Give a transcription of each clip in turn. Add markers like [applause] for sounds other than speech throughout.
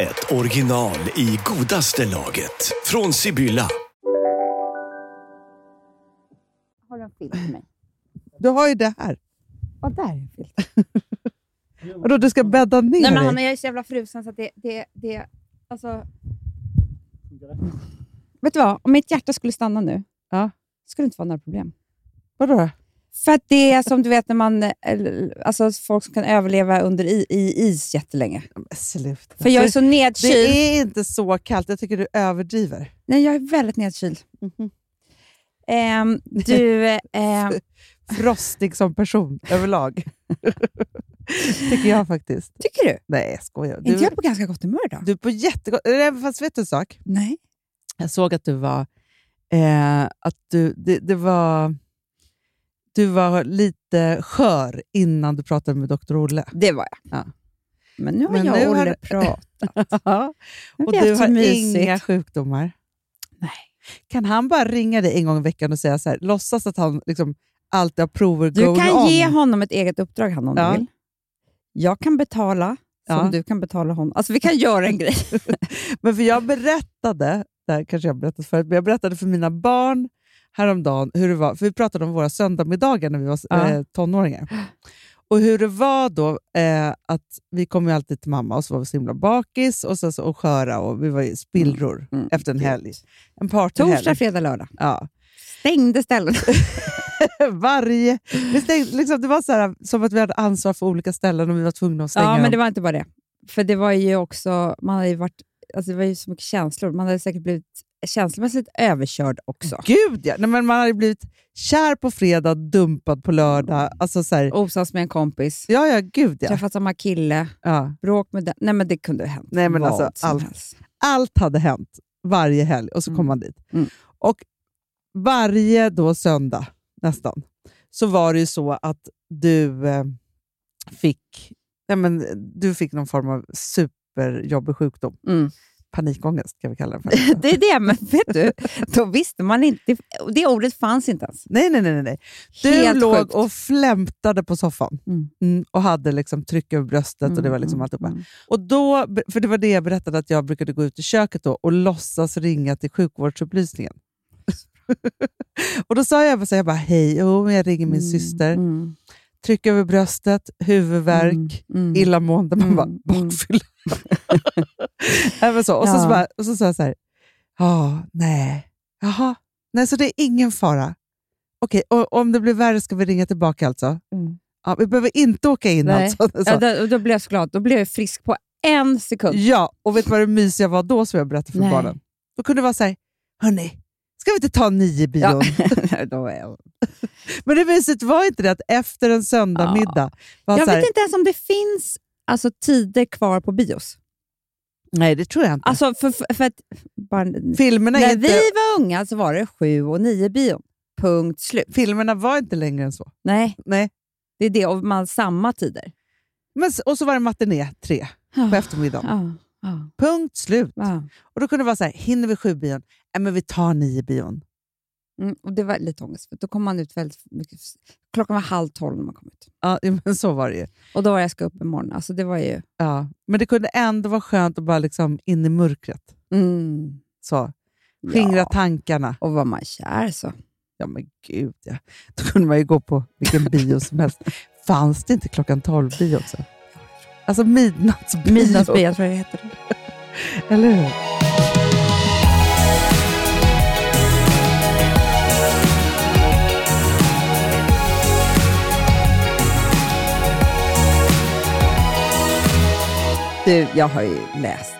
ett original i godaste laget. Från Sibylla. Har du en filt till mig? Du har ju det här. Ja, där är en filt. Vadå, du ska bädda ner Nej, men dig? Hanna, jag är så jävla frusen så att det... det, det alltså... Vet du vad? Om mitt hjärta skulle stanna nu, Ja. skulle det inte vara några problem. Vadå då? För att det är som du vet när man... eller, Alltså folk som kan överleva under i, i is jättelänge. Men Sluta. För jag är Det- så nedkyld. det är inte så kallt. Jag tycker du överdriver. Nej, jag är väldigt nedkyld. Ehm, [laughs] du... ehm, Frostig som person [laughs] överlag. tycker jag faktiskt. tycker du? Nej, jag skojar. Är inte Du, jag på ganska gott humör idag? du är på jättegott... Nej, Fast vet du en sak? Nej. Jag såg att du var... Eh, att du, det, det var... Du var lite skör innan du pratade med Dr. Olle. Det var jag. Ja. Men nu har Men jag nu och har Olle du- [laughs] pratat. Nu och vi haft du så har mysigt. inga sjukdomar. Nej. Kan han bara ringa dig en gång i veckan och säga så här, låtsas att han liksom alltid har prover Du going kan on? ge honom ett eget uppdrag han om Ja. du vill. Jag kan betala som Ja. du kan betala honom. Alltså vi kan göra en grej. Men för jag berättade, det här kanske jag har berättat förut, men jag berättade för mina barn häromdagen hur det var, för vi pratade om våra söndagsmiddagar när vi var Ja. eh, tonåringar. Och hur det var då, eh, att vi kom ju alltid till mamma och så var vi så himla bakis och, så, så, och sköra och vi var ju spillror Mm. efter en helg. En partyhelg. Torsdag, fredag, lördag. Ja. Stängde [laughs] ställen. Varje... Vi stängde, liksom, det var så här, som att vi hade ansvar för olika ställen och vi var tvungna att stänga Ja, men det dem. var inte bara det. För det var ju också, man hade ju varit, alltså det var ju så mycket känslor. Man hade säkert blivit känslomässigt överkörd också. Gud ja! Nej, men man hade blivit kär på fredag, dumpad på lördag. Alltså, så här, Osams med en kompis, ja, ja, gud ja. träffat samma kille, ja. bråk med den. Nej, men det kunde ha hänt Nej, men vad alltså, som allt. helst. allt hade hänt varje helg och så kom Mm. man dit. Mm. Och varje då söndag, nästan, så var det ju så att du eh, fick nej men, du fick någon form av superjobbig sjukdom. Mm. Panikångest kan vi kalla den för. [laughs] Det är det, men vet du, då visste man inte. Det ordet fanns inte ens. nej, nej, nej, nej, nej. Du Helt låg sjukt. och flämtade på soffan Mm. Mm, och hade liksom tryck över bröstet och det var liksom Mm, alltihopa. mm. Och då, för det var det jag berättade att jag brukade gå ut i köket då och låtsas ringa till sjukvårdsupplysningen. [laughs] och då sa jag bara, så här, jag bara hej, jo, men jag ringer min Mm, syster. mm, Tryck över bröstet, huvudvärk, mm, mm. illamående. Man Mm, bara, mm. [laughs] bakfylla. Även så. Och, så, Ja. så bara, och så sa jag så här, ja, nej, jaha, nej, så det är ingen fara. Okej, och om det blir värre ska vi ringa tillbaka alltså? Mm. Ja, vi behöver inte åka in Nej. alltså. [laughs] Så. Ja, då, då blev jag så glad. Då blev jag frisk på en sekund. Ja, och vet du vad det mysiga var då som jag berättade för Nej. barnen? Då kunde det vara så här, hörni, ska vi inte ta nio bion? [laughs] då var jag... [laughs] Men det mysigt var inte det att efter en söndagmiddag var jag så här, vet inte ens om det finns alltså, tider kvar på bios. nej det tror jag inte. Alltså, för, för, för att, bara, filmerna, är när inte, vi var unga så var det sju och nio bion. Punkt slut. filmerna var inte längre än så. Nej, Nej. det är det. Och man samma tider. Men, s- och så var det matiné tre på eftermiddagen. Ja, ja, Punkt slut. ja. Och då kunde det vara så här, hinner vi sju bion? Nej, men vi tar nio bion. Mm, och det var lite ångest. För då kom man ut väldigt mycket. Klockan var halv tolv när man kom ut. Ja, [laughs] men så var det ju. Och då var jag ska upp imorgon. Alltså, det var ju... Ja. Men det kunde ändå vara skönt att bara liksom in i mörkret. Mm, Så. Skingra ja. tankarna. Och var man kär så. Ja men gud ja. Då kunde man ju gå på vilken bio som helst. Fanns det inte klockan 12-bio också? Alltså midnattsbio. Midnattsby, jag tror det heter det. Eller hur? Du, jag har ju [laughs] läst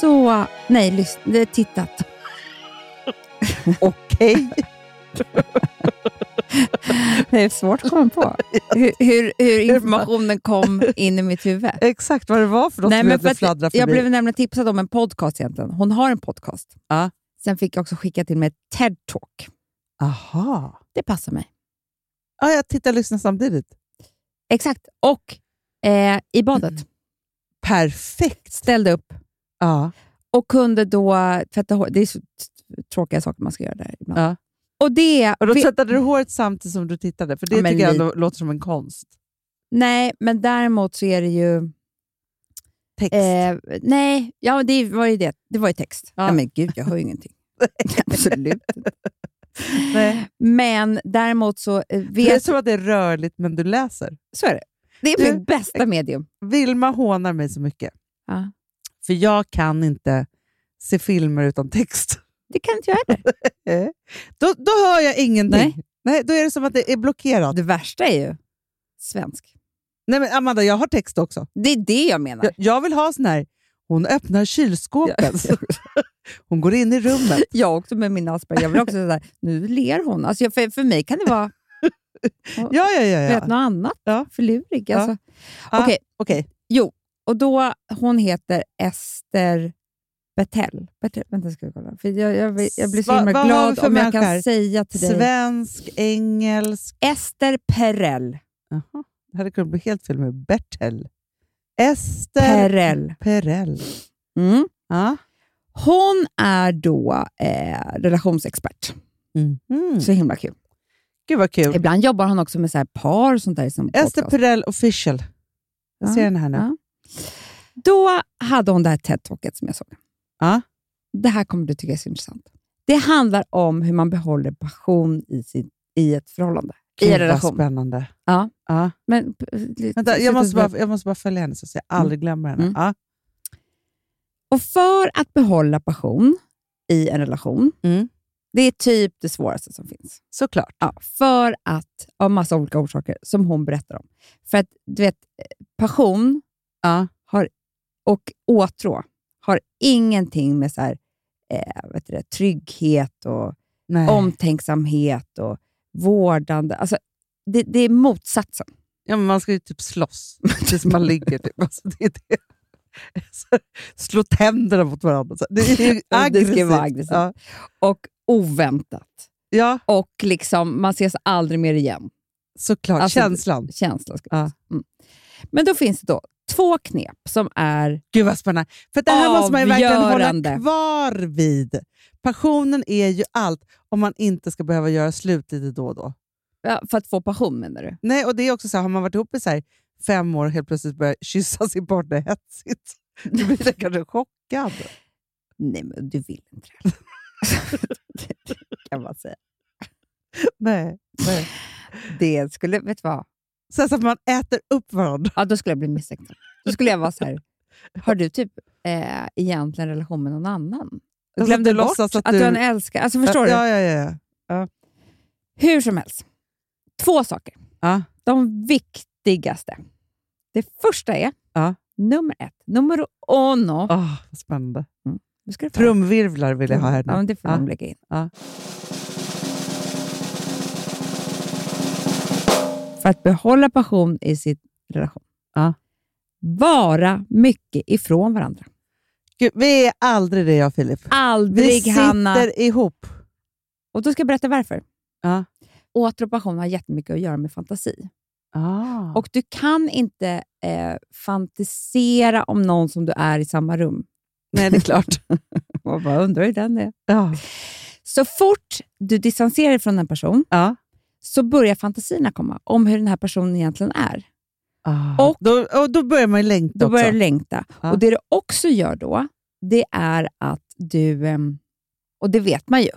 så... Nej, lyssn- eh, tittat. Okej. Det är svårt att komma på. Hur, hur, hur informationen [laughs] kom in i mitt huvud. Exakt vad det var för något Nej, som men jag för hade att fladdrat förbi. Jag blev nämligen tipsad om en podcast egentligen. Hon har en podcast. Ja. Sen fick jag också skicka till mig ett TED-talk. Aha. Det passar mig. Ja, jag tittar och lyssnar samtidigt. Exakt. Och eh, i badet. Mm. Perfekt! Ställde upp Ja. och kunde då tvätta håret. Det är så t- tråkiga saker man ska göra där ibland. Ja. Och det... Och då vi- tvättade du håret samtidigt som du tittade, för det Ja, men Eh, tycker jag li- ändå låter som en konst. nej, men däremot så är det ju... Text. Eh, nej, ja, det var ju det. Det var ju text. Ja. Nej, men gud, jag hör ju [laughs] ingenting. Absolut. Nej. Men däremot så eh, Det är vet... som att det är rörligt, men du läser. Så är det. Det är Du- mitt bästa medium. Vilma hånar mig så mycket, Ja. för jag kan inte se filmer utan text. [laughs] Det kan inte jag heller. Eh. Då, då hör jag ingenting. Nej. Nej. då är det som att det är blockerat. Det värsta är ju svensk. Nej, men Amanda, jag har text också. Det är det jag menar. Jag, jag vill ha sån här, hon öppnar kylskåpet. Ja. [laughs] Hon går in i rummet. Jag också med min Asperger. Jag vill också sådär, nu ler hon. Alltså jag, för, för mig kan det [laughs] vara Ja, ja, ja. vet, ja. något annat. Ja. Förlurig. Ja. Alltså. Ah, Okej, Okej. och då, hon heter Ester Bettell. Bettell vänta, ska jag kolla. För jag, jag, jag blir så Va- himla vad har vi glad för om jag kan människor? säga till dig. Svensk, engelsk. Ester Perell. Jaha. Det hade kunnat bli helt fel med Bertel. Ester Perell. Perell. Mm. Ja. Hon är då eh, relationsexpert. Mhm. Så himla kul. Gud vad kul. Mm. Ibland jobbar hon också med så här par och sånt där. Som Ester podcast. Perell official. Jag ser Ja. den här nu. Ja. Då hade hon det här TED-talket som jag såg. Ja. Det här kommer du tycka är så intressant. Det handlar om hur man behåller passion i, sin, i ett förhållande. I en Gud vad relation. spännande. Ja. Ja. Men, Vänta, sluta- jag, måste bara, jag måste bara följa henne så att jag aldrig glömmer henne. Mm. Ja. Och för att behålla passion i en relation, Mm. det är typ det svåraste som finns. Såklart. Ja, för att, av massa olika orsaker, som hon berättar om. För att, du vet, passion Ja. har, och åtrå har ingenting med så här, eh, vet du det, trygghet och Nej. omtänksamhet och vårdande. Alltså, det, det är motsatsen. Ja, men man ska ju typ slåss tills man ligger. Typ. Alltså, det är det. Så, slå tänderna mot varandra. Så, det är [laughs] ju Ja, det aggressivt. ska vara aggressivt. Ja. Och oväntat. ja, Och liksom, man ses aldrig mer igen. såklart. Alltså, Känslan. Känsla. Ska Ja. jag säga. mm. Men då finns det då två knep som är... Gud vad spännande. För det här måste man ju verkligen Avgörande. hålla kvar vid. Passionen är ju allt om man inte ska behöva göra slut lite då och då. ja, För att få passion menar du? Nej, och det är också så här, har man varit ihop i så här fem år och helt plötsligt börjar kyssa sin partner hetsigt, [laughs] då blir jag kanske chockad. Nej, men du vill inte det. Det [laughs] kan man säga. Nej. nej. Det skulle... Vet du vad? Så, här, så att man äter upp varandra. Ja, då skulle jag bli misstänkt. Då skulle jag vara så här... Har du typ eh, egentligen relation med någon annan? Alltså, Glömde du bort låtsas att att du du- en älskar... Alltså, förstår du? Ja, ja, ja. ja. Hur som helst. Två saker. Ja. De viktigaste. Det första är Ja. nummer ett. Nummer uno. Ah, vad spännande. Nu ska du få- Trumvirvlar vill jag ha här Mm. Ja, nu. men det får Ja. de lägga in. Ja. För att behålla passion i sin relation. Ja. Vara mycket ifrån varandra. Gud, vi är aldrig det jag och Filip. Vi Aldrig, sitter Hanna. ihop. Och då ska jag berätta varför. Ja. Åter och passion har jättemycket att göra med fantasi. Ah. Och du kan inte eh, fantisera om någon som du är i samma rum. nej, det är klart. [laughs] Och bara undrar hur den är. ja. Så fort du distanserar dig från en person Ja. så börjar fantasierna komma om hur den här personen egentligen är. Ah. Och- Och, då, och då börjar man ju längta Då börjar också. du längta. Ja. Och Det du också gör då, det är att du, ehm, och det vet man ju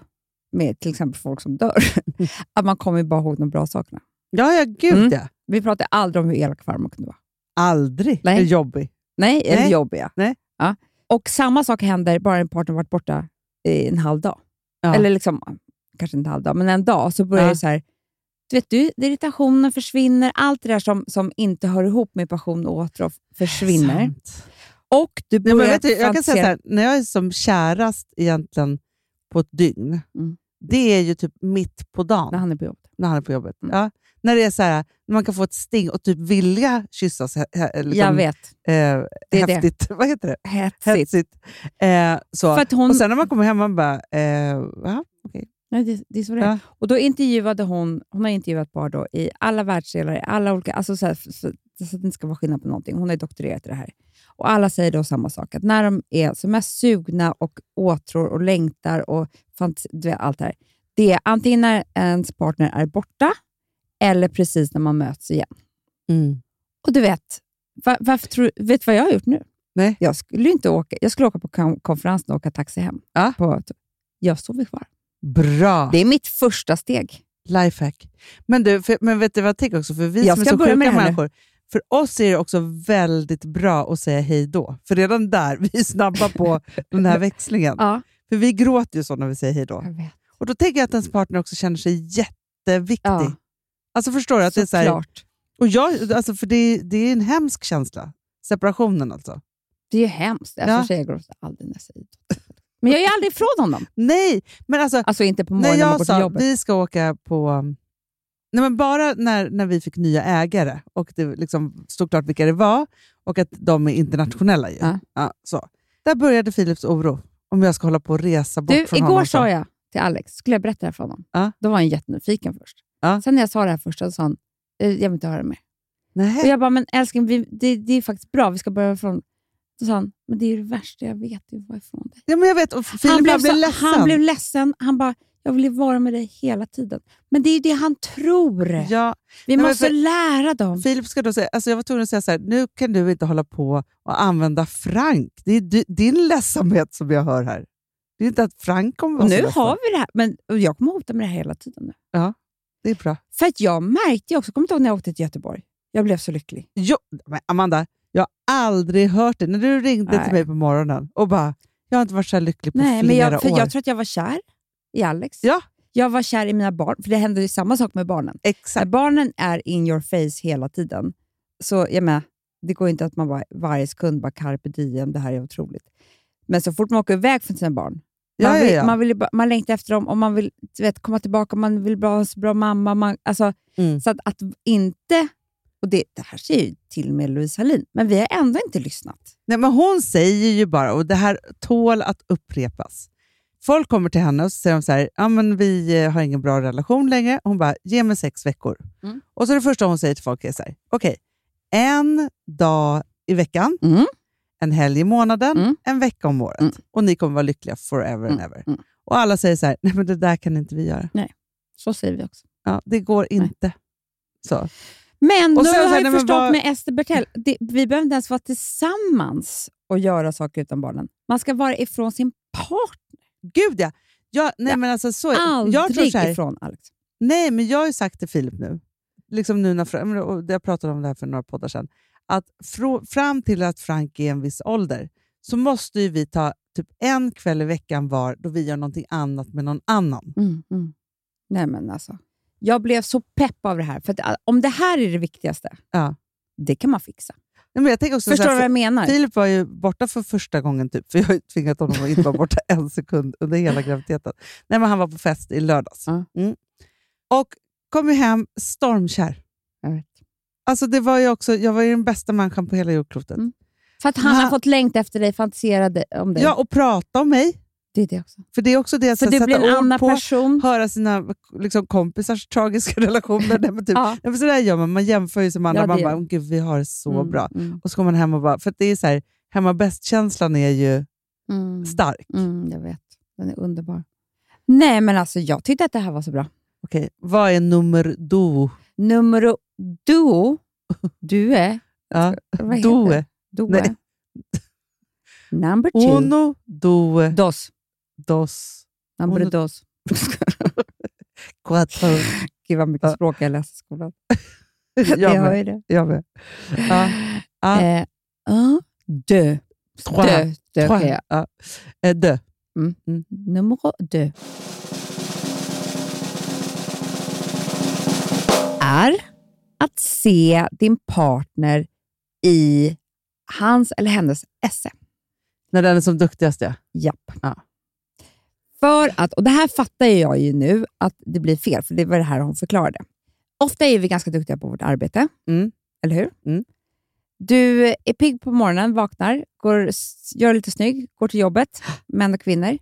med till exempel folk som dör, [laughs] att man kommer ju bara ihåg de bra sakerna. Ja, ja, gud Mm. ja. Vi pratar aldrig om hur elak farmor kunde vara. Aldrig Nej. är jobbig. Nej, eller Nej. jobbiga. Nej. Ja. Och samma sak händer bara en partner varit borta i en halv dag. Ja. Eller liksom, kanske inte en halv dag, men en dag. Så börjar Ja. det så här, du vet du, irritationen försvinner. Allt det där som, som inte hör ihop med passion och åtrå försvinner. Sant. Och du Nej, börjar men vet du, jag kan säga så fantisera- här, när jag är som kärast egentligen på ett dygn, Mm. Det är ju typ mitt på dagen när han är på jobbet. när han är på jobbet. Mm. Ja. När det är så här, när man kan få ett sting och typ vilja kyssas. he- he- liksom, jag vet. Eh, Det är det. häftigt. [laughs] Vad heter det? Hetsigt. Hetsigt. Eh, så. För att hon, Och sen när man kommer hem, man bara... Eh, va? nej, det, det är så det är. Ja. Och då intervjuade hon, hon har intervjuat par då i alla världsdelar, i alla olika, alltså så, här, så, så att det inte ska vara skillnad på någonting. Hon har ju doktorerat i det här. Och alla säger då samma sak, att när de är som mest sugna och åtrår och längtar och fant- du vet, allt det här, det är antingen när ens partner är borta eller precis när man möts igen. Mm. Och du vet, va- varför tror, vet du vad jag har gjort nu? Nej. Jag skulle ju inte åka, jag skulle åka på kon- konferensen och åka taxi hem. Ja. På, jag sover kvar. Bra! Det är mitt första steg. Lifehack. Men, du, för, men vet du vad jag tänker också? För vi Jag som är ska så börja sjuka med det här nu. människor, för oss är det också väldigt bra att säga hej då. För redan där, [laughs] vi är snabba på den här växlingen. Ja. För vi gråter ju så när vi säger hej då. Jag vet. Och då tänker jag att ens partner också känner sig jätteviktig. Ja. Alltså förstår du? Att det är så här, Såklart. och jag, alltså för det, det är en hemsk känsla. Separationen alltså. Det är ju hemskt. Alltså, Ja. Tjejer gråter aldrig när jag säger det. Men jag är aldrig ifrån honom. Nej, men alltså Alltså inte på när morgonen när man går jag till sa jobbet. vi ska åka på... Nej, men bara när, när vi fick nya ägare och det liksom stod klart vilka det var och att de är internationella. Ju. Ja. Ja, så. Där började Philips oro om jag ska hålla på och resa bort Du, från igår honom. alltså. sa jag till Alex, skulle jag berätta det här för honom? Ja. Då var han jättenyfiken först. Ja. Sen när jag sa det här första så sa han, "Eh, jag vill inte höra mer. Och Nej. jag bara, men älskling, vi, det, det är faktiskt bra, vi ska börja från... Då sa han, men det är ju det värsta jag vet, det var ifrån dig. Ja, men jag vet, och Filip han, blev, blev blev så, ledsen. han blev ledsen, han bara, jag vill ju vara med dig hela tiden. Men det är ju det han tror. ja, Vi men måste för- lära dem. Filip ska då säga, alltså jag var tvungen att säga så här, nu kan du inte hålla på och använda Frank. Det är di- din ledsamhet som jag hör här. Det är inte att Frank kommer vara Och så nu ledsen. har vi det här, men och jag kommer hota med det här hela tiden. nu. Det är bra. För att jag märkte ju också, kommer du ihåg när jag åkte till Göteborg? Jag blev så lycklig. Jo, men Amanda, jag har aldrig hört det. När du ringde Nej. till mig på morgonen och bara, jag har inte varit så här lycklig på Nej, flera men jag, för år. jag tror att jag var kär i Alex. Ja. Jag var kär i mina barn, för det hände ju samma sak med barnen. När Exakt. barnen är in your face hela tiden, så jag menar, det går ju inte att man bara, varje sekund bara carpe diem, det här är otroligt. Men så fort man åker iväg från sina barn, Ja, man, ja, vill, ja. Man, vill, ju bara- man längtar efter dem och man vill du vet, komma tillbaka, man vill vara en så bra mamma. Man, alltså, Mm. Så att, att inte... Och det, det här säger ju till och med Louise Hallin, men vi har ändå inte lyssnat. Nej, men hon säger ju bara, och det här tål att upprepas. Folk kommer till henne och så säger de så här, ja, men vi eh, har ingen bra relation längre. Hon bara, ge mig sex veckor. Mm. Och så det första hon säger till folk är så här, okej, en dag i veckan, Mm. en helg i månaden, Mm. en vecka om året. Mm. Och ni kommer vara lyckliga forever and Mm, ever. mm. Och alla säger så här, nej men det där kan inte vi göra. Så säger vi också. Ja, det går inte. Så. Men Och nu sen så har här, jag nej, men förstått vad- med Ester Bertell, det, vi behöver inte ens vara tillsammans och göra saker utan barnen. Man ska vara ifrån sin part, Gud ja! Jag, nej, Ja, men alltså, så, aldrig jag tror så här, ifrån Alex. Nej, men jag har ju sagt till Filip nu, liksom nu när, Fra- men, och jag pratade om det här för några poddar sedan, att fro, fram till att Frank är en viss ålder så måste ju vi ta typ en kväll i veckan var då vi gör någonting annat med någon annan. mm. Nej, men alltså. Jag blev så pepp av det här, för att, ah, om det här är det viktigaste, Ja. det kan man fixa. Nej, men jag tänker också Förstår så du vad här, jag menar? Filip var ju borta för första gången, typ, för jag har ju tvingat honom att inte vara borta [laughs] en sekund under hela graviditeten. Nej, men han var på fest i lördags. Ja. Mm. Och kom ju hem stormkär. Jag vet. Alltså, det var ju också, jag var ju den bästa människan på hela jordklotet. Mm. För att han Va? har fått längt efter dig, fantiserade om dig. Ja, och prata om mig. Det är det också. För det är också det att För så här, du blir sätta en ord annan på, person. höra sina liksom, kompisars tragiska [laughs] relationer. Nej, men typ, Ja. nej, men sådär gör man, man jämför ju som andra. Ja, det man gör bara, man. "Åh, gud vi har det så Mm, bra. Mm, Och så kommer man hem och bara, för att det är så här, hemma bäst-känslan är ju mm, stark. mm, jag vet. Den är underbar. Nej, men alltså jag tyckte att det här var så bra. Okej, vad är nummer do? Nummer duo. Du är... Ja. Vad heter Do. det? Due. Nej. Number two. Uno, do, Dos. dos, Number Uno. dos. [laughs] cuatro. Gud vad mycket Ja. språk jag läste i skolan. Jag hör med. ju det. Jag med. Ja. Ja. Eh, un, deux. Trois. Deux. Deux Trois. kan jag. Ja. Eh, Dö. Nummer deux. Är att se din partner i hans eller hennes esse. När den är som duktigast, ja. Japp. Ja. För att, och det här fattar ju jag ju nu att det blir fel, för det var det här hon förklarade. Ofta är vi ganska duktiga på vårt arbete, Mm. eller hur? Mm. Du är pigg på morgonen, vaknar, går, s- gör dig lite snygg, går till jobbet, [gasps] män och kvinnor.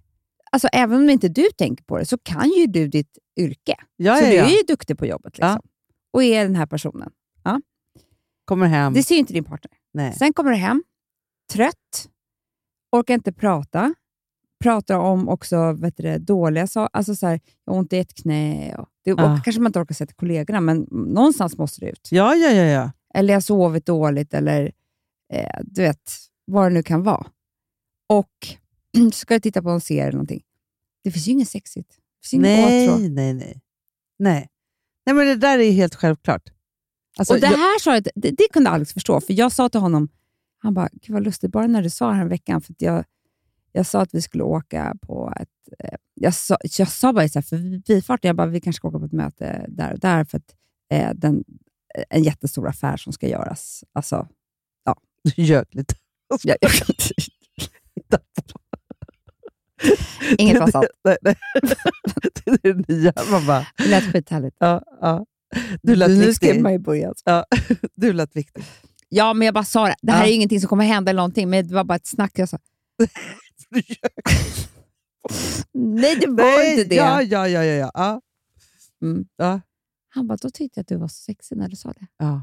Alltså, även om inte du tänker på det så kan ju du ditt yrke. Ja, så ja, du ja. är ju duktig på jobbet liksom. och är den här personen. Kommer hem. Det ser ju inte din partner. Nej. Eh. Sen kommer du hem, trött, orkar inte prata. Pratar om också vet du, det, dåliga saker. Alltså så här, jag har ont i ett knä. Och det, Ja. och kanske man inte orkar säga till kollegorna, men någonstans måste det ut. Ja, ja, ja, ja. Eller jag har sovit dåligt, eller eh, du vet, vad det nu kan vara. Och [clears throat] så ska jag titta på en serie eller någonting. Det finns ju inget sexigt. Det finns inget åtrå. Nej, nej, nej. Nej. Nej, men det där är ju helt självklart. Alltså, och det jag- här sa jag, det, det kunde Alex förstå, för jag sa till honom, han bara, gud vad lustigt, bara när du sa det här veckan, för att jag, jag sa att vi skulle åka på ett... Eh, jag, sa, jag sa bara i så här, för bifarten, jag bara, vi kanske ska åka på ett möte där och där, för att eh, den, en jättestor affär som ska göras. Alltså, Du ljög lite. jag, jag, inget var sant. [laughs] Nej, nej. Det är det nya. Man bara, [laughs] Det lät skithärligt. ja, ja. Du lät nu viktig. skrev man ju i början. Ja, du lät viktig. [laughs] Ja, men jag bara sa det. Det här Ja. är ju ingenting som kommer hända eller någonting, men det var bara ett snack. Jag sa, Du ljög. nej det var inte det. Ja, ja, ja, ja, ja. ja. Mm. ja. Han bara, då tyckte jag att du var så sexig när du sa det. ja.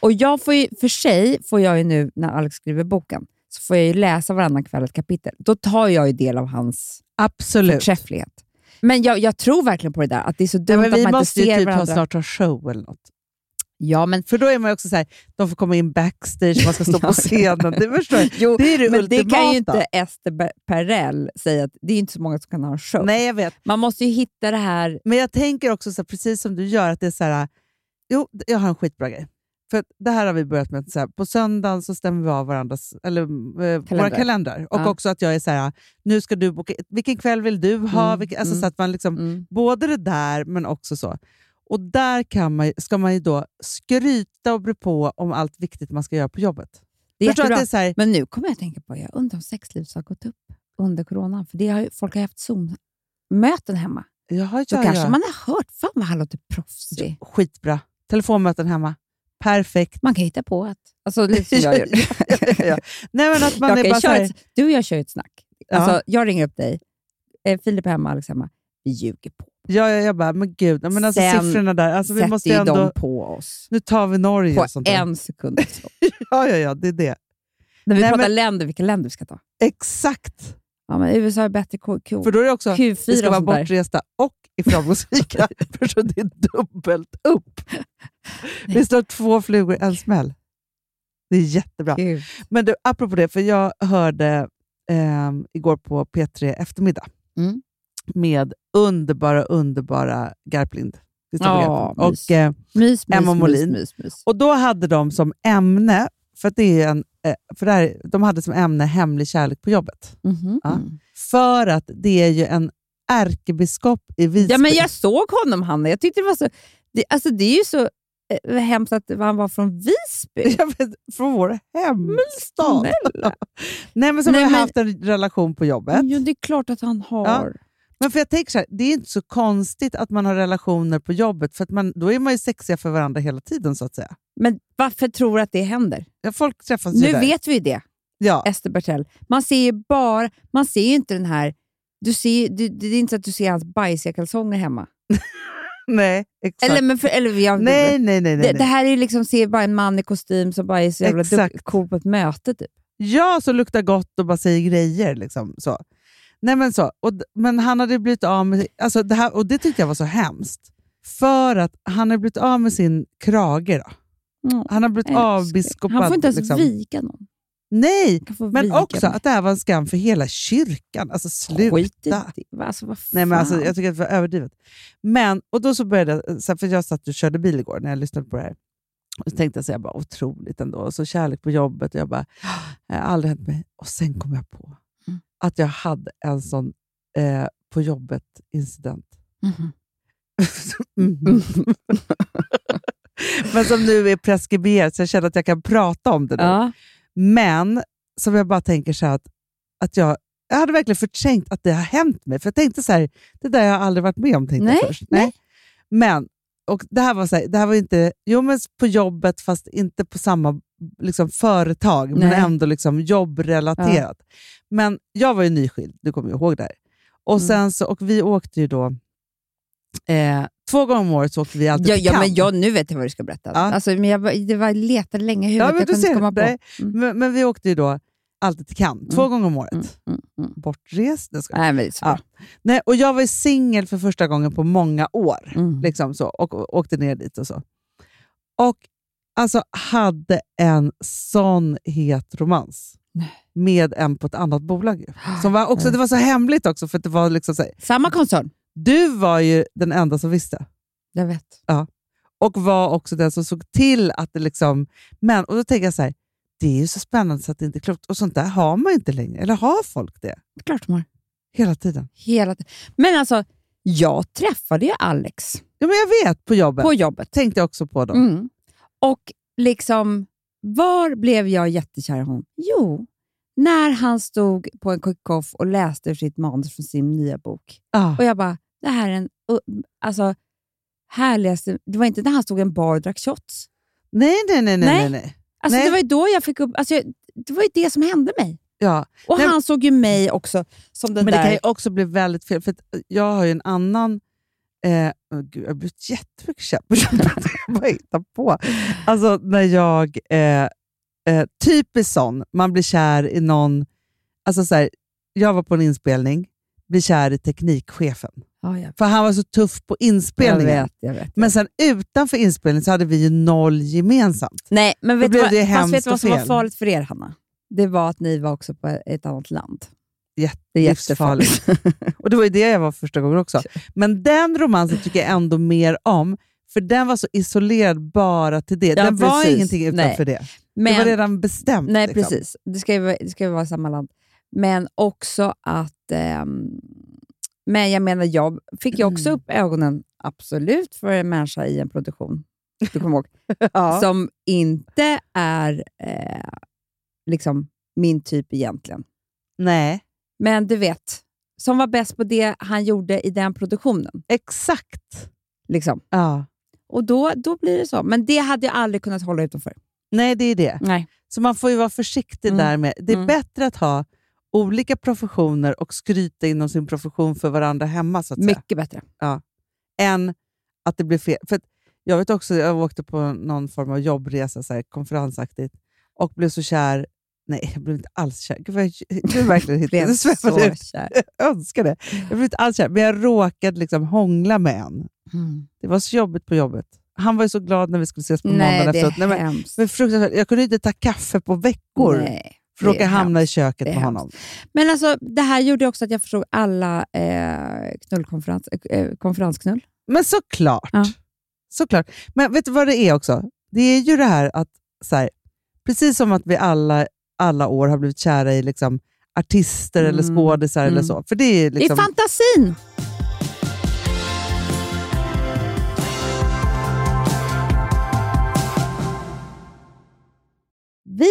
Och jag får ju, för sig får jag ju nu, när Alex skriver boken, så får jag ju läsa varannan kväll ett kapitel. Då tar jag ju del av hans Absolut. förträfflighet. Men jag, jag tror verkligen på det där, att det är så dumt Nej, men att vi man inte måste ju ser typ ha varandra. snart ha show eller något. Ja, [laughs] men, För då är man ju också så här, de får komma in backstage, man ska stå [laughs] Ja, på scenen. Det [laughs] förstår jag. jo, Det är det men det ultimata. kan ju inte Ester Be- Perell säga, att det är inte så många som kan ha en show. Nej, jag vet. Man måste ju hitta det här... Men jag tänker också, så här, precis som du gör, att det är så här, jo, jag har en skitbra grej. För att det här har vi börjat med. Så här, på söndagen så stämmer vi av varandras, eller, eh, våra Kalendrar. kalendrar. Och Ja. också att jag är så här, nu ska du boka, vilken kväll vill du ha? Mm, Vilken, alltså, mm, så att man liksom, Mm. Både det där, men också så. Och där kan man, ju- ska man ju då skryta och bry på om allt viktigt man ska göra på jobbet. Det är Förstår du jättebra. att det är så här, Men nu kommer jag att tänka på, jag undrar om sexlivet har gått upp under coronan, för det har, ju- folk har ju haft Zoom-möten hemma. jaha, Då ja, kanske ja. man har hört, fan vad han låter proffsig. Skitbra. Telefonmöten hemma. [laughs] Perfekt. Man kan hitta på att... Alltså lite som [laughs] jag gör. Ja, ja, ja. Nej, men att man jag är kan bara så köra här, ett, du och jag kör ju ett snack. Ja. Alltså, jag ringer upp dig, eh, Filip är hemma, Alex är hemma. Vi ljuger på. ja, ja, jag bara, men gud. ja, Men alltså, Sen siffrorna där. Alltså, vi Sätter måste ju ju ändå, dem på oss Nu tar vi Norge på och sånt där. en sekund. [laughs] också. Ja, ja, ja, det är det. När vi Nej, pratar men- länder, vilka länder vi ska ta. Exakt. Ja, men USA är bättre Q, Q, För då är det också, Q4 vi ska och vara sånt där. bortresta och [laughs] är framgångsrika. för så det är dubbelt upp. Det står två flugor i en smäll. Det är jättebra. Gud. Men du, apropå det, för jag hörde ehm, igår på P3 Eftermiddag Mm. med underbara, underbara Garplind. Kristoffer Ja, Garplind. mys. och, eh, Mys, mys, Emma mys, Molin. mys, mys. och då hade de som ämne, för, att det är en, eh, för det här, de hade som ämne hemlig kärlek på jobbet. Mhm. Ja. För att det är ju en ärkebiskop i Visby. Ja, men jag såg honom, Hanna. Jag tyckte det var så... Det, alltså, det är ju så eh, hemskt att han var från [laughs] Visby. Jag vet, från vår hemstad. Nej, men som Nej, har men- haft en relation på jobbet. Jo, det är klart att han har. Ja. Men för jag tänker så här, det är inte så konstigt att man har relationer på jobbet, för att man, då är man ju sexiga för varandra hela tiden. så att säga. Men varför tror du att det händer? Ja, Folk träffas ju Nu Alltså, där. vet vi ju det, ja. Ester Bertell. Man ser ju bara, man ser ju inte den här... Du ser, du, det är inte så att du ser hans bajsiga kalsonger hemma. [laughs] Nej, exakt. Eller, men för, eller jag, nej, nej, nej. nej, det, nej. det här är ju liksom, ser bara en man i kostym som bara är så jävla Exakt. dukt- cool på ett möte. Typ. Ja, som luktar gott och bara säger grejer. Liksom, så. Nej, men, så. Och, d- men han hade blivit av med... Alltså, det här, och det tyckte jag var så hemskt. För att han hade blivit av med sin krage. Då. Mm. Han har blivit avbiskopad. Han får inte ens liksom. vika någon. Nej, Han kan få men vika också att det här var en skam för hela kyrkan. Alltså sluta. Skit i det. Va, Alltså, vad Nej, men alltså, fan? jag tycker att det var överdrivet. Men, och då så började jag, eh, så här, för jag satt och körde bil igår när jag lyssnade på det här. Och så tänkte jag så här, bara, otroligt ändå. Och så kärlek på jobbet. Och jag bara, det har aldrig hänt mig. Och sen kom jag på Mm. att jag hade en sån eh, på jobbet-incident. [laughs] Mhm. Mm. Mhm. [laughs] men som nu är preskriberad, så jag känner att jag kan prata om det nu. Ja. Men som jag bara tänker så här att, att jag jag hade verkligen förträngt att det har hänt mig. För jag tänkte så här, det där har jag aldrig varit med om. Tänkte Nej, jag först. nej. Men, och det här var så här, det här var ju inte, jo men på jobbet fast inte på samma liksom, företag, men Nej. ändå liksom jobbrelaterat. Men jag var ju nyskild, du kommer ju ihåg det här. Och, Mm. sen så, och vi åkte ju då, eh, två gånger om året så åkte vi alltid Ja, till ja, men Cannes. jag, nu vet jag vad du ska berätta. Ja. Alltså, men jag, bara- det var letade länge i huvudet, Ja, men jag du kunde ser, inte komma på. nej. Mm. Men, men vi åkte ju då alltid till Cannes, två gånger om året. Mm, mm, mm. Bortrest, nej, jag skojar. Nej, men det är så Ja. bra. Nej, och jag var ju singel för första gången på många år. Mm. Liksom så, och, och åkte ner dit och så. Och alltså hade en sån het romans. Med en på ett annat bolag. Ju. Liksom, Som var också, det var så hemligt också. För att det var liksom så här, Samma koncern. du var ju den enda som visste. Jag vet. Och var också den som såg till att det liksom... Men, och då tänker jag så här, det är ju så spännande så att det inte är klokt. Och sånt där har man ju inte längre. Eller har folk det? Det är klart de har. Hela tiden. Hela tiden. Men alltså, jag träffade ju Alex Ja, men jag vet, på jobbet. på jobbet. Tänkte jag också på då. Mm. Och liksom, var blev jag jättekär i honom? Jo, när han stod på en kick-off och läste ur sitt manus från sin nya bok. Ah. Och jag bara, det här är en... u- Alltså, härligaste... Det var inte när han stod i en bar och drack shots. Nej, nej, nej. nej, nej. Nej. nej. Alltså, Nej. det var ju då jag fick upp... Alltså, jag, det var ju det som hände mig. Ja. Och Nej, han såg ju mig också som den Men det där... kan ju också bli väldigt fel, för att eh, jag har ju en annan... Eh, åh gud, jag har blivit jättemycket käpp på jobbet. Vad jag hittar på. Alltså när jag... Eh, eh, typiskt sån, man blir kär i någon... Alltså så här, jag var på en inspelning, blir kär i teknikchefen. Ja, jag, För han var så tuff på jag inspelningen. vet, jag vet. Men sen utanför inspelningen så hade vi ju noll gemensamt. Nej, men vet du blev vad, det ju fast hemskt vet du och vad som var fel. farligt för er, Hanna? Det var att ni var också på ett annat land. Jätte- det är livsfarligt. jättefarligt. Och det var ju det jag var första gången också. Men den romansen tycker jag ändå mer om, för den var så isolerad bara till det. Ja, den var precis. ingenting utanför det. det var [laughs] Men- redan bestämt. Nej, liksom. precis. Det ska, ju, vara- det ska ju vara samma land. Men också att... ehm, men jag menar, jag fick ju Mm. också upp ögonen, absolut, för en människa i en produktion, du kommer ihåg, Ja. som inte är eh, liksom min typ egentligen. Nej, Men du vet, som var bäst på det han gjorde i den produktionen. exakt. Liksom. Ja. Och då, då blir det så. Men det hade jag aldrig kunnat hålla utanför. Nej, det är det. Nej. Så man får ju vara försiktig Mm. där med. Det är Mm. bättre att ha olika professioner och skryta inom sin profession för varandra hemma, så att säga. Mycket bättre. än att det blir fel. För att jag vet också, jag åkte på någon form av jobbresa, så här, konferensaktigt, och blev så kär. Nej, jag blev inte alls kär. Gud, vad jag, [laughs] gud verkligen hit. Blev Nu så svävar det ut. kär. Jag önskar det. Jag blev inte alls kär, men jag råkade liksom hångla med en. Mm. Det var så jobbigt på jobbet. Han var ju så glad när vi skulle ses på Nej, måndagen det efteråt. är Nej, men, hemskt. men fruktansvärt. Jag kunde inte ta kaffe på veckor Nej, för att det är råka hamna i hemskt. köket Det är med honom. Men alltså, det här gjorde också att jag förstod alla eh, knullkonferens, eh, konferensknull. Men såklart. Ja. såklart. Men vet du vad det är också? Det är ju det här att, så här, precis som att vi alla, alla år har blivit kära i liksom, artister eller Mm. skådisar eller Mm. så. För det är liksom, Det är fantasin! Vi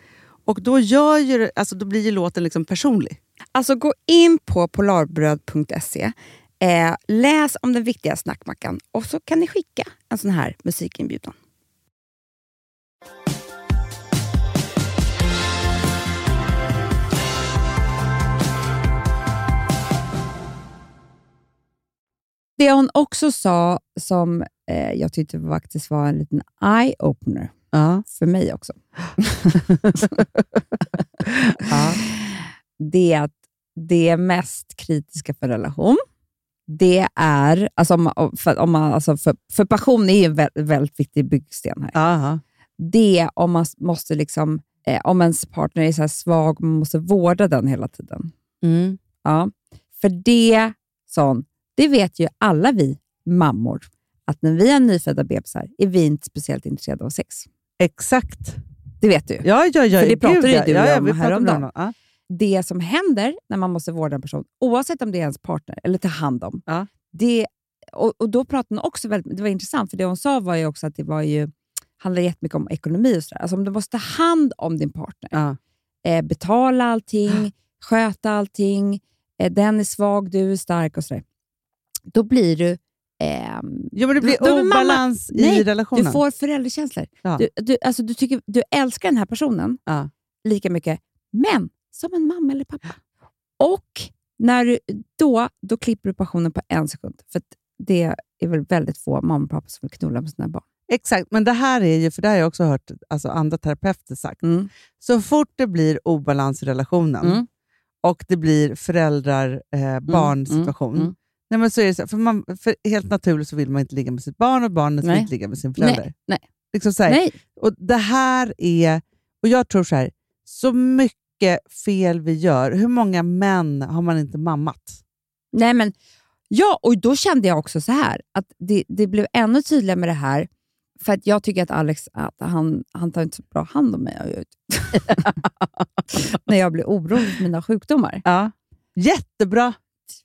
Och då, gör ju, det- alltså, då blir ju låten liksom personlig. Alltså gå in på polarbröd.se, eh, läs om den viktiga snackmackan och så kan ni skicka en sån här musikinbjudan. Det hon också sa som eh, jag tyckte faktiskt var en liten eye-opener Ja. för mig också. Det är att det mest kritiska för relation, det är... Alltså om, man- för, om man, alltså för, för passion är ju en väldigt, väldigt viktig byggsten här. Aha. Det är om man måste liksom... Eh, om ens partner är så här svag och man måste vårda den hela tiden. Ja, för det, sån, det vet ju alla vi mammor, att när vi har nyfödda bebisar är vi inte speciellt intresserade av sex. Exakt. Det vet du ju. Ja, ja, ja. För det pratade ju ja. du ja, om ja, vi pratade häromdagen. om det. det som händer när man måste vårda en person, oavsett om det är ens partner eller ta hand om. Ja. Det, och, och då pratade hon också väldigt, Det var intressant, för det hon sa var ju också att det var ju, handlar jättemycket om ekonomi. och sådär. Alltså Om du måste ta hand om din partner, Ja. eh, betala allting, sköta allting, eh, den är svag, du är stark och sådär. Då blir du... ehm, Jo, men det blir Då- då blir mamma- obalans i Nej, relationen. du får föräldrakänslor. Ja. Du, du, alltså, du, tycker, du älskar den här personen Ja. lika mycket, men som en mamma eller pappa. Och när du, då, då klipper du passionen på en sekund. För att det är väl väldigt få mammor och pappor som vill knulla med sina barn. Exakt, men det här är ju, för det har jag också hört alltså, andra terapeuter sagt, Mm. så fort det blir obalans i relationen Mm. och det blir föräldrar-barn-situation, mm, mm. Nej, men så är det så, här, för, man, för helt naturligt så vill man inte ligga med sitt barn och barnet vill Nej. inte ligga med sin förälder. Nej, nej, Liksom så här, nej. Och det här är Och jag tror så här, så mycket fel vi gör. Hur många män har man inte mammat? Nej, men, ja, och då kände jag också så här att det, det blev ännu tydligare med det här, för att jag tycker att Alex att han, han tar inte så bra hand om mig. [laughs] När jag blir orolig för mina sjukdomar. Ja. Jättebra!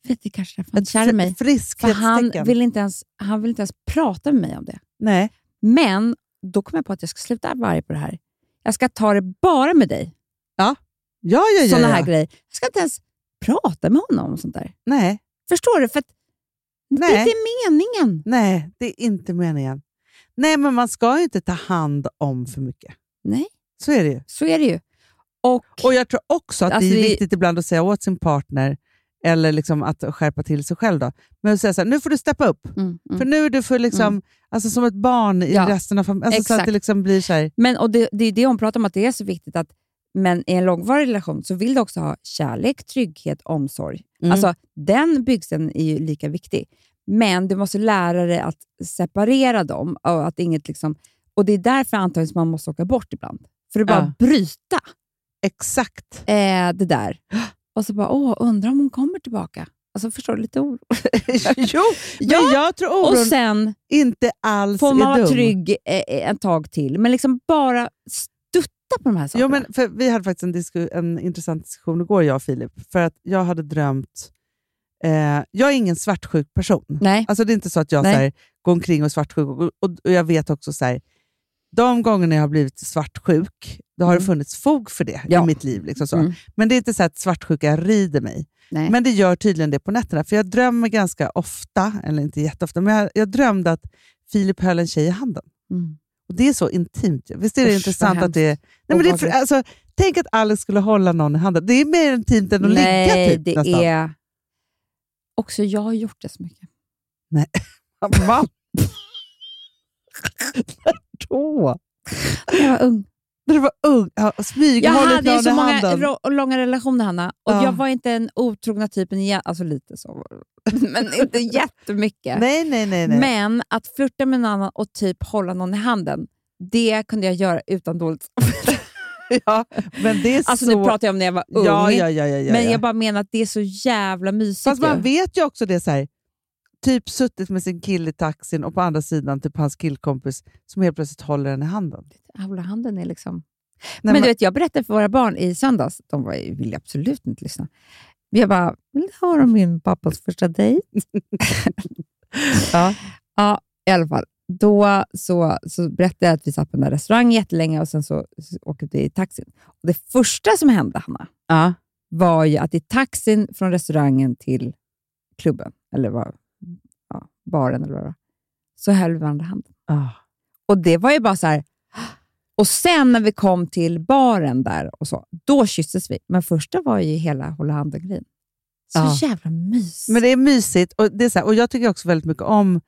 Vet du, kanske därför han inte kär i mig. För han, friskhetstecken. vill inte ens, han vill inte ens prata med mig om det. Nej. Men då kom jag på att jag ska sluta vara arg på det här. Jag ska ta det bara med dig. Ja, ja, ja. Sådana ja. här grejer. Jag ska inte ens prata med honom om sånt där. Nej. Förstår du? För att det är Nej. inte meningen. Nej, det är inte meningen. Nej, men man ska ju inte ta hand om för mycket. Nej. Så är det ju. Så är det ju. Och, Och jag tror också att Alltså, det är det- viktigt ibland att säga åt sin partner, eller liksom att skärpa till sig själv. Då. Men att säga så här, nu får du steppa upp. mm, mm. För nu är du för liksom, alltså som ett barn i Ja, resten av familjen. Alltså, så att exakt. det liksom blir så här, Men, och det, det är det hon pratar om, att det är så viktigt att men i en långvarig relation så vill du också ha kärlek, trygghet, omsorg. Mm. Alltså, den byggsten är ju lika viktig. Men du måste lära dig att separera dem. Och, att inget liksom, och Det är därför antagligen som man måste åka bort ibland. För att bara Ja. bryta [laughs] exakt. eh, det där. Och så bara, åh, undrar om hon kommer tillbaka. Alltså, förstår du? Lite oro. jo, Ja, men jag tror och oron sen inte alls får man är vara dum. trygg eh, eh, ett tag till. Men liksom bara stutta på de här sakerna. Jo, men för vi hade faktiskt en, disku, en intressant diskussion igår, jag och Filip. För att jag hade drömt... Eh, jag är ingen svartsjuk person. Nej. Alltså Det är inte så att jag så Nej. här, går omkring och är svartsjuk. Och, och, och jag vet också så här, de gångerna jag har blivit svartsjuk, då har det Mm. funnits fog för det Ja. i mitt liv. Liksom så. Mm. Men det är inte så att svartsjuka rider mig. Nej. Men det gör tydligen det på nätterna. För jag drömmer ganska ofta, eller inte jätteofta, men jag, jag drömde att Filip höll en tjej i handen. Mm. Och Det är så intimt. Visst är det Usch, vad intressant att hemskt. det är... Nej, men det är för, Obehagligt. alltså, tänk att Alex skulle hålla någon i handen. Det är mer intimt än att Nej, ligga typ, det nästan. är... Också jag har gjort det så mycket. Va? När då? När jag var ung. När du var ung? Ja, och smyg, Jag hållit hade ju någon så i många handen. ro- långa relationer, Hanna. Och Ja. jag var inte den otrogna typen, igen. alltså lite så, var det. [laughs] men inte jättemycket. Nej, nej, nej. nej. Men att flirta med någon annan och typ hålla någon i handen, det kunde jag göra utan dåligt [laughs] ja, men det är Alltså så... nu pratar jag om när jag var ung, ja, ja, ja, ja, ja, men ja. jag bara menar att det är så jävla mysigt. Fast man ju. vet ju också det så här. Typ suttit med sin kille i taxin och på andra sidan typ hans killkompis som helt plötsligt håller en i handen. Hålla handen är liksom... Nej, men men- du vet, jag berättade för våra barn i söndags, de var, ville absolut inte lyssna. Men Jag bara, vill du höra om min pappas första dejt? [laughs] Ja. ja, i alla fall. Då så, så berättade jag att vi satt på den där restaurangen jättelänge och sen så, så åkte vi i taxin. Och det första som hände, Hanna, Ja. var ju att i taxin från restaurangen till klubben, eller var, ja, baren eller vad det var, så höll vi varandra handen. Ah. Och det var ju bara så här... Och sen när vi kom till baren där, och så, då kysstes vi. Men första var ju hela hålla handen-grejen. Så Ja. jävla mys. Ah. Men det är mysigt och, det är så här, och jag tycker också väldigt mycket om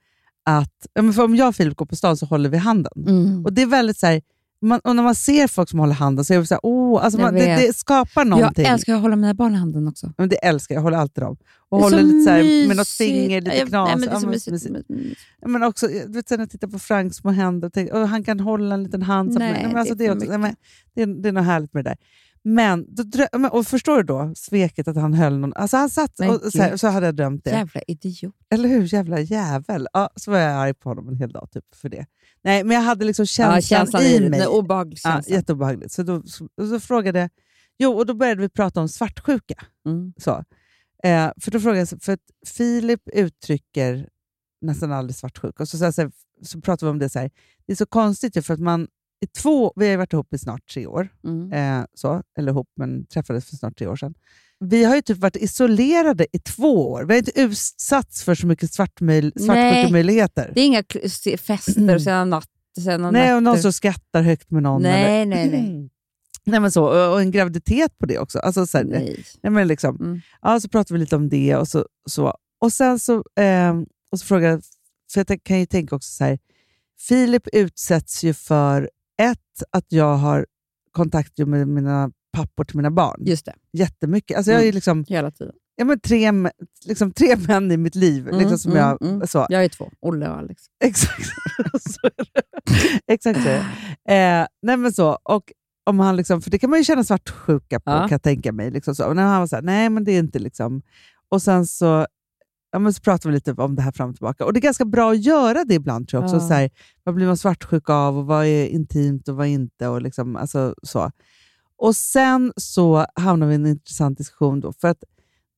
att, ja, men för om jag och Filip går på stan så håller vi handen. Mm. Och det är väldigt så här, man, och när man ser folk som håller handen så är det så här, åh, alltså Jag man, det, vet. det skapar någonting. Jag älskar att hålla mina barn i handen också. Ja, men det älskar jag, jag håller alltid dem. Och Det är håller så lite så här, med något mysigt. finger, Ja, lite jag- knas. Nej, men det Ja, är så men mysigt. Mm. mysigt. Ja, Men också, jag vet, sen när jag tittar på Franks små händer, och tänker, "Åh, han kan hålla en liten hand. samtidigt." Nej, men det alltså, är det, är för också, nej, men, det, är, det är något härligt med det där. Men, då, drö- men- och förstår du då sveket att han höll någon... Alltså han satt Men och så, här, gud. så hade jag drömt det. Jävla idiot. Eller hur? Jävla jävel. Ja, så var jag arg på honom en hel dag typ, för det. Nej, men jag hade liksom känslan, i mig. Nej, obehaglig Ja, känsla. jätteobehagligt. Så då, så, så frågade jag... Jo, och då började vi prata om svartsjuka. Mm. Så. Eh, för då frågade jag, så- för att Filip uttrycker nästan aldrig svartsjuka. Och så, så, här- så, här- så pratade vi om det så här. Det är så konstigt ju, för att man i två, vi har ju varit ihop i snart tre år. Mm. Eh, så, eller ihop, men träffades för snart tre år sedan. Mm. Vi har ju typ varit isolerade i två år. Vi har inte utsatts för så mycket svartmöj- svartsjukemöjligheter. Det är inga kl- se- fester [clears throat] och sena natt. Sena Nej, och någon nätter. som skrattar högt med någon. Nej, eller, nej, nej. [clears throat] nej men så, och, och en graviditet på det också. Alltså, så här, nej. Nej, men liksom, Mm. ja, så pratade vi lite om det och så. så. Och sen så, ehm, och så frågade jag, för jag tän- kan ju tänka också så här, Filip utsätts ju för ett, att jag har kontakt ju med mina pappor till mina barn. Just det, Jättemycket. Alltså Mm. jag är ju liksom, hela tiden. ja, men tre, m- liksom tre män i mitt liv. Mm, liksom som mm, jag, mm. Så, Jag är två, Olle och Alex. [laughs] Exakt så är det. Exakt så är det. Eh, nej men så. Och, Om han liksom, för det kan man ju känna svartsjuka på, Ja. kan jag tänka mig. Liksom så. Och när han var så här, nej men det är inte liksom... Och sen så, ja, men så pratade vi lite om det här fram och tillbaka. Och det är ganska bra att göra det ibland tror jag också. Ja. Så här, vad blir man svartsjuk av och vad är intimt och vad inte? Och liksom, alltså, så. Och sen så hamnar vi i en intressant diskussion då. För att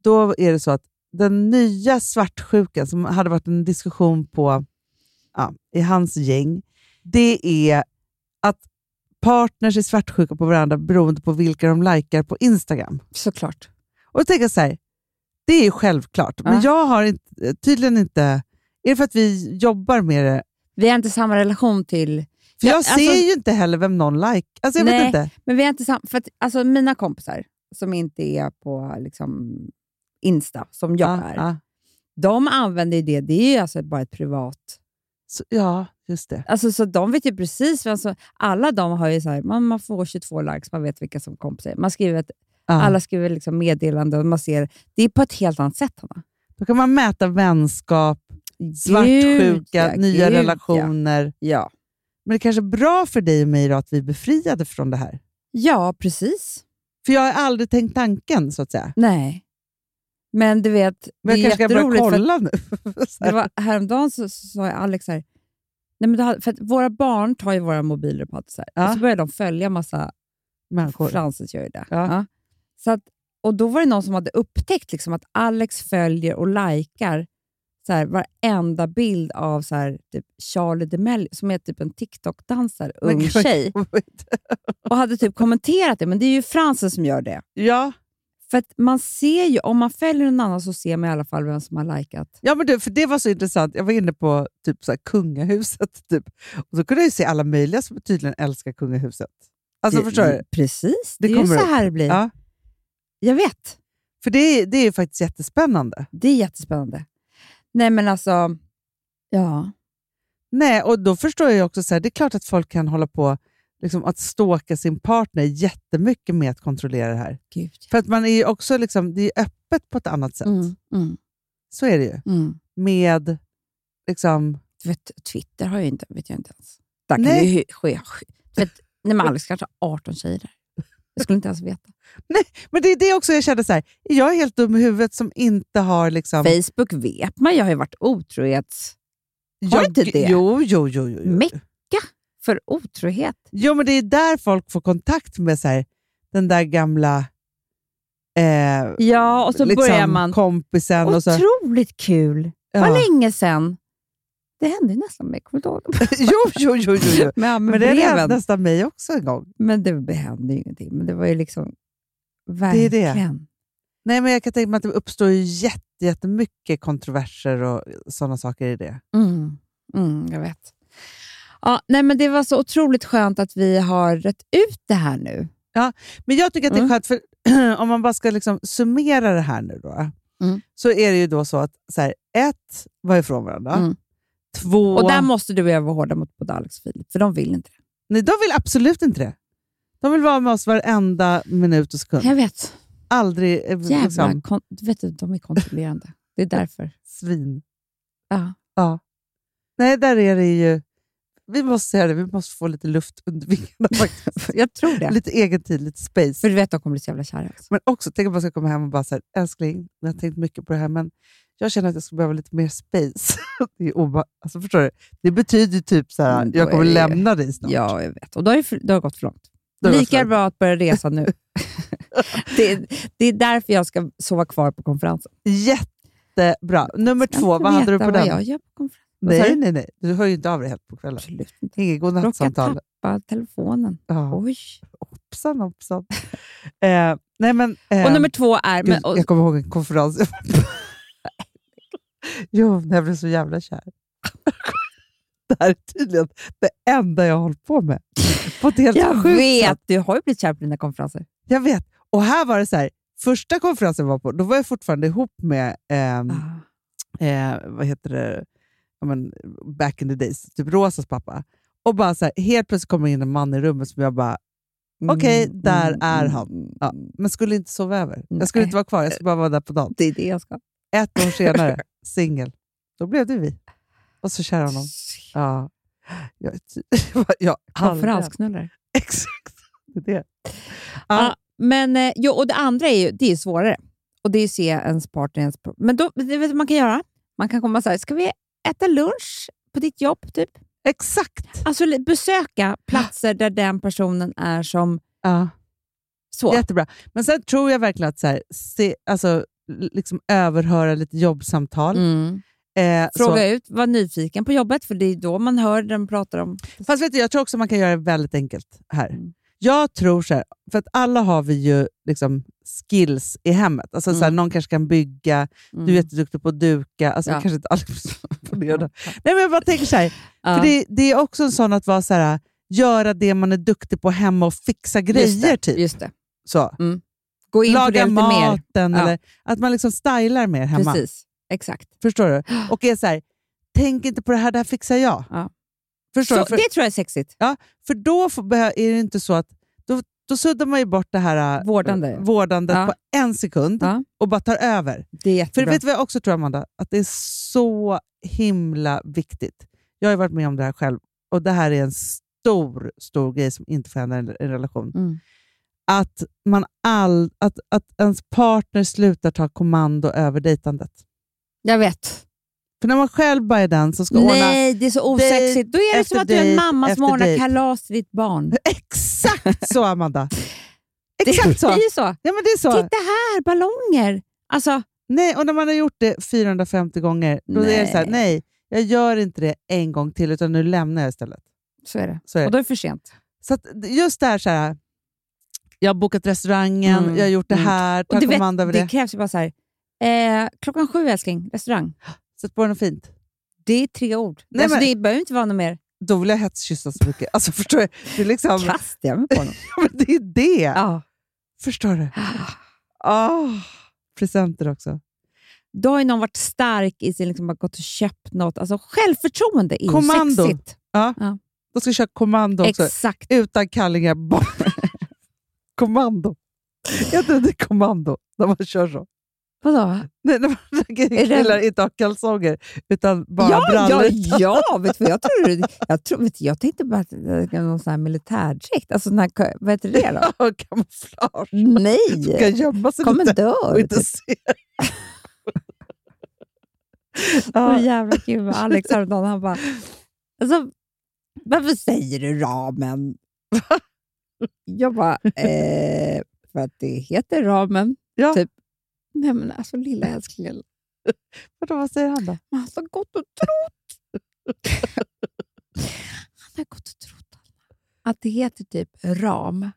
då är det så att den nya svartsjukan som hade varit en diskussion på ja, i hans gäng, det är att partners är svartsjuka på varandra beroende på vilka de likar på Instagram. Såklart. Och då tänker jag så här, det är ju självklart, men Ja. jag har inte, tydligen inte... Är det för att vi jobbar med det? Vi har inte samma relation till... För Ja, jag alltså- ser ju inte heller vem någon like. Alltså jag vet Nej. inte. Men vi har inte sam- för att, alltså, mina kompisar som inte är på liksom, Insta, som jag ja, är, ja. de använder ju det. Det är ju alltså bara ett privat... Så, ja, just det. Alltså, så de vet ju precis vem som... Alla de har ju så här, man, man får 22 likes, man vet vilka som kompisar är. Man skriver ett, Ja. Alla skriver liksom meddelanden och man ser... Det är på ett helt annat sätt, Hanna. Då kan man mäta vänskap, Gud, svartsjuka, ja, nya gud, ja. relationer. Ja. Men det är kanske är bra för dig och mig då att vi är befriade från det här. ja, precis. För jag har aldrig tänkt tanken, så att säga. Nej. Men du vet, Men det jag är kanske ska börja jätteroligt för att kolla nu. [laughs] Det Så här. var, häromdagen så så sa jag Alex så här, Nej, men det har, för att våra barn tar ju våra mobiler på allt så här. Ja. Och så börjar de följa massa... Människor. Francis gör ju det. Ja. Ja. Så att, och då var det någon som hade upptäckt liksom att Alex följer och likar så här, varenda bild av så här, typ Charlie DeMello, som är typ en TikTok-dansare, Men ung gud, vad tjej, jobbigt. och hade typ kommenterat det. Men det är ju Francis som gör det. Ja, För att man ser ju, om man följer någon annan så ser man i alla fall vem som har likat. ja men du, för det var så intressant. Jag var inne på typ så här, kungahuset. Typ. Och så kunde jag ju se alla möjliga som tydligen älskar kungahuset. Alltså, Det- mm, förstår du? Precis, det, är Det ju kommer så upp. här det blir. Ja. Jag vet. För det, är- det är ju faktiskt jättespännande. Det är jättespännande. Nej, men alltså... Ja. Nej, och då förstår jag ju också så här, det är klart att folk kan hålla på liksom, att stalka sin partner jättemycket med att kontrollera det här. Gud. För att man är ju också liksom, det är ju öppet på ett annat sätt. Mm, mm, Så är det ju. mm. Med liksom... Du vet, Twitter har jag inte, vet jag inte ens. Där kan Nej. det ju ske. ske- du Vet, nej, men Alex kanske har 18 tjejer där. Jag skulle inte ens veta. Men det är det också jag kände så här, är jag helt dum i huvudet som inte har liksom... Facebook vet man, jag har ju varit otrohets... jag, har inte det? Jo, jo, jo. jo, jo. Mecka för otrohet. jo men det är där folk får kontakt med så här, den där gamla eh, Ja, och så liksom, börjar man... kompisen. Och så, Otroligt kul! ja. [laughs] Vad länge sedan. Det hände ju nästan mig, kommer du [laughs] ihåg? jo, jo, jo, jo, jo. Med Men det breven. är nästan mig också en gång. Men det hände ju ingenting. Men det var ju liksom... är Verkligen. det. Nej, men jag kan tänka mig att det uppstår ju jätte- jättemycket kontroverser och sådana saker i det. Mm. Mm, jag vet. Ja, nej, men det var så otroligt skönt att vi har rätt ut det här nu. Men jag tycker att det är Mm. skönt, för [clears throat] om man bara ska liksom summera det här nu då, Mm. så är det ju då så att så här, ett, var ifrån varandra. Mm. Två, Och där måste du och jag vara hårda mot både Alex och Filip, för de vill inte det. nej, de vill absolut inte det. De vill vara med oss varenda minut och sekund. Jag vet. Aldrig eh, Jävla liksom, kon- du vet du, de är kontrollerande. Det är därför. svin. Ja. Ja. Nej, där är det ju... Vi måste säga det, vi måste få lite luft [laughs] under vingarna faktiskt. Jag tror det. lite egen tid, lite space. För du vet, de kommer bli så jävla kära. Alltså. Men också, tänk om man ska komma hem och bara säga älskling, jag har tänkt mycket på det här, men jag känner att jag skulle behöva lite mer space. [laughs] det, är oba- alltså, förstår du? det betyder ju typ så här, Men Mm, då jag kommer är det ju- lämna dig snart. Ja, jag vet. Och då har, ju för, då har det gått för långt. Då är det Lika slut. bra att börja resa [laughs] nu. det, är- det är därför jag ska sova kvar på konferensen. Jättebra. Nummer Ska två, inte vad hade du veta på vad den? Jag gör på konferensen. Vad sa Nej, du? nej, nej. Du hör ju inte av dig helt på kvällen. Absolut inte. Inget Råkar godnattsamtal. tappa telefonen. Ja. Oj. Hoppsan, hoppsan. eh, nej, men, eh, Och nummer två är... gud, Men, och, Jag kommer ihåg en [laughs] konferens. jag var på. jo, när jag blev så jävla kär. det här är tydligen det enda jag har hållit på med. På ett helt jag sjukt vet, sätt. du har ju blivit kär på dina konferenser. Jag vet. Och här var det så här. Första konferensen jag var på, då var jag fortfarande ihop med, ehm, Ah. eh, vad heter det, ja, men, back in the days, typ Rosas pappa. Och bara så här, helt plötsligt kommer in en man i rummet som jag bara, Okej, Mm, där är han. Ja. men skulle inte sova över. Jag skulle Nej. inte vara kvar, jag skulle bara vara där på dagen. Det är det jag ska. Ett år senare, [laughs] singel. Då blev det vi. Och så kär honom. Ja. [laughs] Jag, jag, jag, aldrig- Konferensknullare. [laughs] Exakt. Det är det. Ja, men, eh, jo, och det andra är ju, det är ju svårare. Och det är ju se ens partner. Ens, pro- men då, det vet du vad man kan göra? Man kan komma så här, ska vi äta lunch på ditt jobb? Typ? Exakt! Alltså li- besöka platser där den personen är som Ja. så. Jättebra. Men sen tror jag verkligen att så här, se, alltså, l- liksom överhöra lite jobbsamtal. Mm. Eh, så. Fråga ut, var nyfiken på jobbet, för det är då man hör den pratar om... Fast vet du, jag tror också man kan göra det väldigt enkelt här. Mm. Jag tror så här, för att alla har vi ju liksom skills i hemmet. Alltså så här, Mm. någon kanske kan bygga, Mm. du är jätteduktig på att duka. Alltså, Ja. jag kanske inte alla [laughs] är så imponerade. Nej, men jag bara tänker så här, Ja. för det, det är också en sån att vara så här, göra det man är duktig på hemma och fixa Just det, grejer. Typ. Just det. Så. Gå in på det Laga lite mer. maten, Ja. eller att man liksom stylar mer hemma. Precis, exakt. [gasps] Förstår du? Och är så här, tänk inte på det här, det här fixar jag. Ja. Förstår Så, du? För, Det tror jag är sexigt. för då får, behö- är det inte så att då, då suddar man ju bort det här äh, Vårdande. vårdandet Ja. på en sekund Ja. och bara tar över. Det är För jättebra. vet du vad jag också tror, Amanda? Att det är så himla viktigt. Jag har ju varit med om det här själv och det här är en stor, stor grej som inte får hända i en- en relation. Mm. Att, man all, att, att ens partner slutar ta kommando över dejtandet. Jag vet. För när man själv bara är den som ska ordna Nej, det är så osexigt. Då är det efter som att du är en dejt mamma som efter ordnar dejt. kalas till ditt barn. Exakt så, Amanda! [laughs] Det [laughs] [laughs] Exakt så! det är ju så. Ja, men det är så. Titta här, ballonger! Alltså, Nej, och när man har gjort det 450 gånger, då är det så här, Nej. nej, jag gör inte det en gång till, utan nu lämnar jag istället. så är det. Så, är Och det. då är det för sent. så att just det här, så här, jag har bokat restaurangen, Mm, jag har gjort det mm. här, Och ta du vet, kommando över det. det krävs ju bara så här. Eh, klockan sju älskling, restaurang. Sätt på något fint. Det är tre ord. Nej, alltså, men- Det behöver inte vara något mer. Då vill jag hetskyssa så mycket. [laughs] Alltså, förstår du? Det är liksom, [laughs] Kastar jag mig på honom. men det är det. ja. Förstår du? Ah, presenter också. Då har ju någon varit stark i sin, liksom, bara gått och köpt något. Alltså, självförtroende är ju Kommando. sexigt. Då ska jag köra kommando också. Exakt. Utan kallingar. [laughs] bara- kommando. Jag tror det är kommando när man kör så. Vadå? Nej, när man [laughs] killar inte har kalsonger utan bara ja, brallor. ja, [laughs] ja, vet du vad jag tror? Jag, tror, vet du, jag tänkte bara att det var någon sån här militärdräkt. Alltså, sån här, kö- vad heter det då? [laughs] Och kamouflage. [laughs] Du kan Nej! gömma sig lite Kommendör! och inte se. Åh ja, jävla kul vad Alex häromdagen, han bara... Alltså, varför säger du ramen? [laughs] Jag bara, eh, för att det heter ramen. Ja. Typ. Nej men alltså lilla älsklingen, vadå, vad säger han då? man har så gått och trott. Han har gått och trott att det heter typ ram,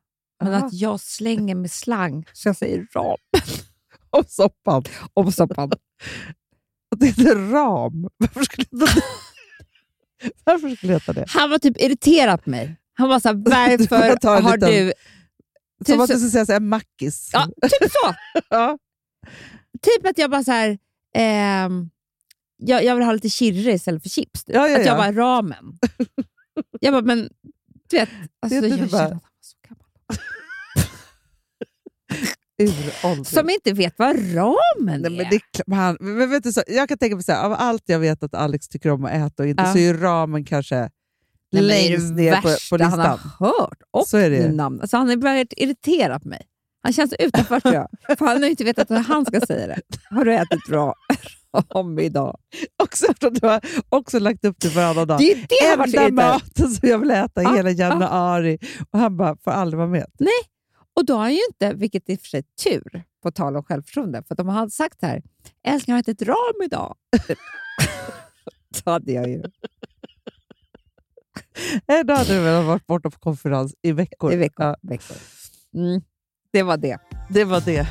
men Aha. att jag slänger med slang så jag säger ram [laughs] Om soppan. om soppan. Och det heter ram. Varför skulle det heta [laughs] det? Varför skulle det heta det? Han var typ irriterad på mig. Han var såhär, Jag tar varför en har liten- du... Som Typ att så- du skulle säga så här, mackis. Ja, typ så. [laughs] Ja. Typ att jag bara så här, ehm, jag, jag vill ha lite chirre istället för chips. typ. Ja, ja, Att jag ja. bara, ramen. jag bara, men du vet. Alltså, Det är jag inte känner det bara- att han var så gammal. Uråldrig. Som inte vet vad ramen Nej, men är. det är klart- men han, men vet du, så, jag kan tänka mig så här, av allt jag vet att Alex tycker om att äta och inte, Ja. så är ju ramen kanske Nej, men det är längst ner på, på han listan. har hört. Och Så är det ju. nu namn. Alltså, han har börjat irritera på mig. Han känns utanför tror [laughs] jag. För han har ju inte vetat hur han ska säga det. Har du ätit [laughs] ra- ram idag? [laughs] Också eftersom du har också lagt upp det varannan dag. Det är ju det han har varit Enda irriterad maten som jag vill äta i Ja, hela januari och han bara, får aldrig vara med. Och då har han ju inte, vilket i och för sig är tur, på tal om självförtroende, för att om han hade sagt här, älskling jag har ätit ram [laughs] idag. då hade jag ju Nej, Då hade du väl varit borta på konferens i veckor. i veckor. Ja, veckor. Mm. Det var det. det var det.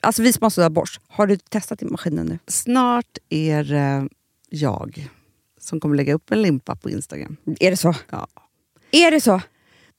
Alltså vi som har sådär borst, har du testat i maskinen nu? Snart är eh, jag som kommer lägga upp en limpa på Instagram. Är det så? Ja. Är det så?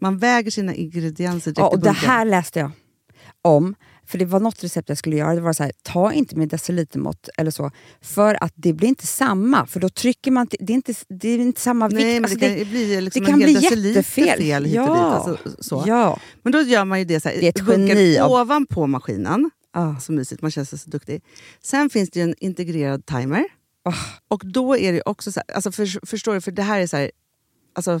man väger sina ingredienser direkt Ja, och i det bunken. här läste jag om. För det var något recept jag skulle göra. Det var så här, ta inte med decilitermått eller så. För att det blir inte samma. För då trycker man... till- Det är inte, det är inte samma Nej, men vikt. Alltså, det kan ju bli liksom det kan en hel bli deciliter jättefel. fel hit och dit. Ja. Alltså, så. Ja. Men då gör man ju det så här, Det är ett i bunken geni av- ovanpå maskinen. Ah. Så mysigt, man känns så duktig. Sen finns det ju en integrerad timer. Ah. Och då är det ju också så här, alltså för, förstår du, för det här är så här, alltså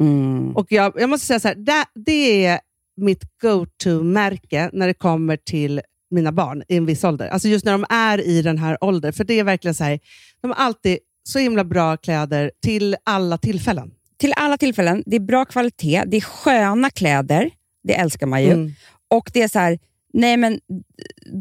Mm. Och jag, jag måste säga så här, det, det är mitt go-to-märke när det kommer till mina barn i en viss ålder. Alltså just när de är i den här åldern. För det är verkligen så här, de har alltid så himla bra kläder till alla tillfällen. Till alla tillfällen, det är bra kvalitet, det är sköna kläder, det älskar man ju. Mm. Och det är så här, nej men,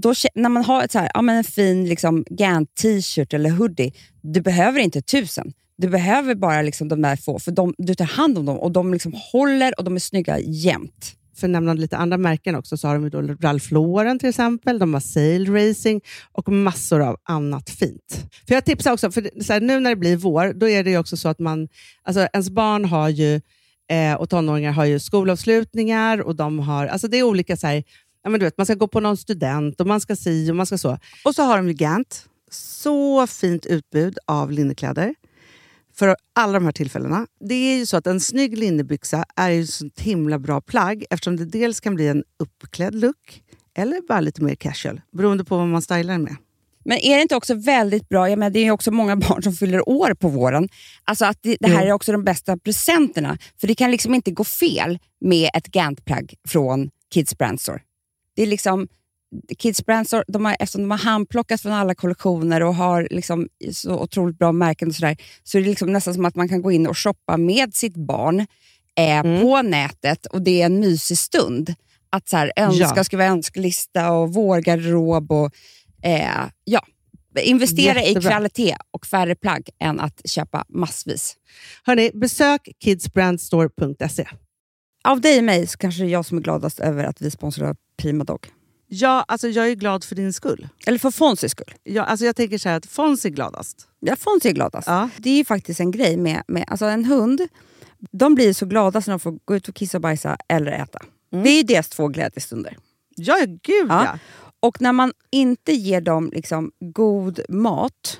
då, kä- när man har ett så här, ja men en fin liksom, Gant t-shirt eller hoodie, du behöver inte tusen. Du behöver bara liksom de där få, för de, du tar hand om dem och de liksom håller och de är snygga jämt. För att nämna lite andra märken också, så har de ju då Ralph Lauren till exempel, de har Sail Racing och massor av annat fint. För Jag tipsar också, för det- så här, nu när det blir vår, då är det ju också så att man, alltså ens barn har ju, eh, och tonåringar har ju skolavslutningar och de har, alltså det är olika så här, ja, men du vet, man ska gå på någon student och man ska si och man ska så. Och så har de ju Gant. Så fint utbud av linnekläder för alla de här tillfällena. Det är ju så att en snygg linnebyxa är ju ett sånt himla bra plagg eftersom det dels kan bli en uppklädd look eller bara lite mer casual, beroende på vad man stylar den med. Men är det inte också väldigt bra, jag menar, det är ju också många [laughs] barn som fyller år på våren, alltså att det, det här är också de bästa presenterna. För det kan liksom inte gå fel med ett Gant-plagg från Kids Brand Store. Det är liksom, Kids Brand Store, de har, eftersom de har handplockat från alla kollektioner och har liksom så otroligt bra märken och sådär, så är det liksom nästan som att man kan gå in och shoppa med sitt barn eh, Mm. på nätet och det är en mysig stund. Att så här, önska, Ja. skriva önskelista och vårgarderob och Eh, ja. Investera i Jättebra. kvalitet och färre plagg än att köpa massvis. Hörni, besök kidsbrandstore.se. Av dig och mig så kanske det är jag som är gladast över att vi sponsrar Prima Dog. Ja, alltså jag är glad för din skull. Eller för Fonzys skull. Ja, alltså jag tänker så här att Fons är gladast. Ja, Fonzie är gladast. Ja. alltså. Det är ju faktiskt en grej med, med alltså en hund. De blir så glada när de får gå ut och kissa och bajsa eller äta. Det är ju deras två glädjestunder. Ja, gud Mm. ja. Ja. Och när man inte ger dem liksom god mat,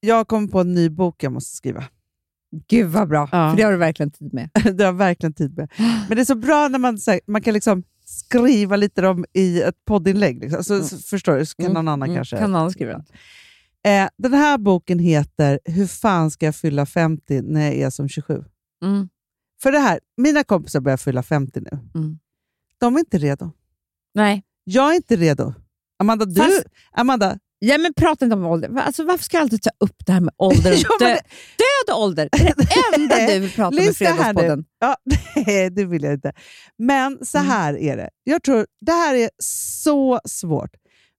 jag kom på en ny bok jag måste skriva. Gud vad bra, Ja. för det har du verkligen tid med. [laughs] det har jag verkligen tid med. Men det är så bra när man, så här, man kan liksom skriva lite om i ett poddinlägg. Liksom. Så, så, förstår du? Så kan Mm, någon annan mm. kanske... Kan någon annan skriva den? Eh, den här boken heter Hur fan ska jag fylla 50 när jag är som 27? Mm. För det här, mina kompisar börjar fylla 50 nu. Mm. De är inte redo. Nej. Jag är inte redo. Amanda, du... Fast- Amanda, Ja, men prata inte om ålder. Va- Alltså, varför ska jag alltid ta upp det här med [laughs] ålder? och Ja, men dö- Död ålder! Det är [laughs] det enda du vill prata om i Lyssna här nu. Fredagspodden. Ja, nej, det vill jag inte. Men Mm. så här är det. Jag tror Det här är så svårt.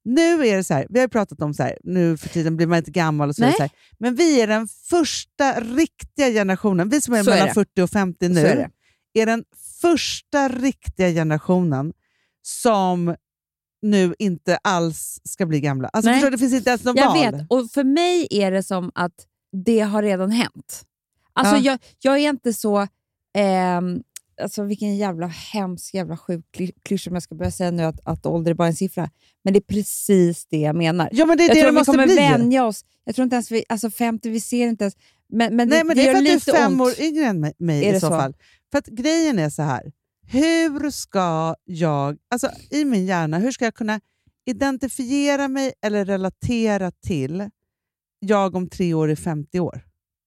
Nu är det så här, vi har ju pratat om så här, nu för tiden blir man inte gammal och så, Nej. så här. Men vi är den första riktiga generationen, vi som är Så är mellan det. 40 och 50 nu, Så är det. är, den första riktiga generationen som nu inte alls ska bli gamla. Alltså, Nej. förstår, du, det finns inte ens något Jag val. vet, och för mig är det som att det har redan hänt. Alltså, Ja. jag, jag är inte så... ehm, alltså, vilken jävla hemsk, jävla sjuk kly- klyscha om jag ska börja säga nu att, att ålder är bara en siffra. Men det är precis det jag menar. Ja, men det är Jag det tror det vi måste kommer bli. vänja oss. Jag tror inte ens vi... Alltså 50, vi ser inte ens... Men, men, Nej, det, men det det är gör för att du är lite ont. fem år yngre än mig, mig Är i det så, så? fall. För att grejen är så här. Hur ska jag, alltså i min hjärna, hur ska jag kunna identifiera mig eller relatera till jag om tre år är 50 år?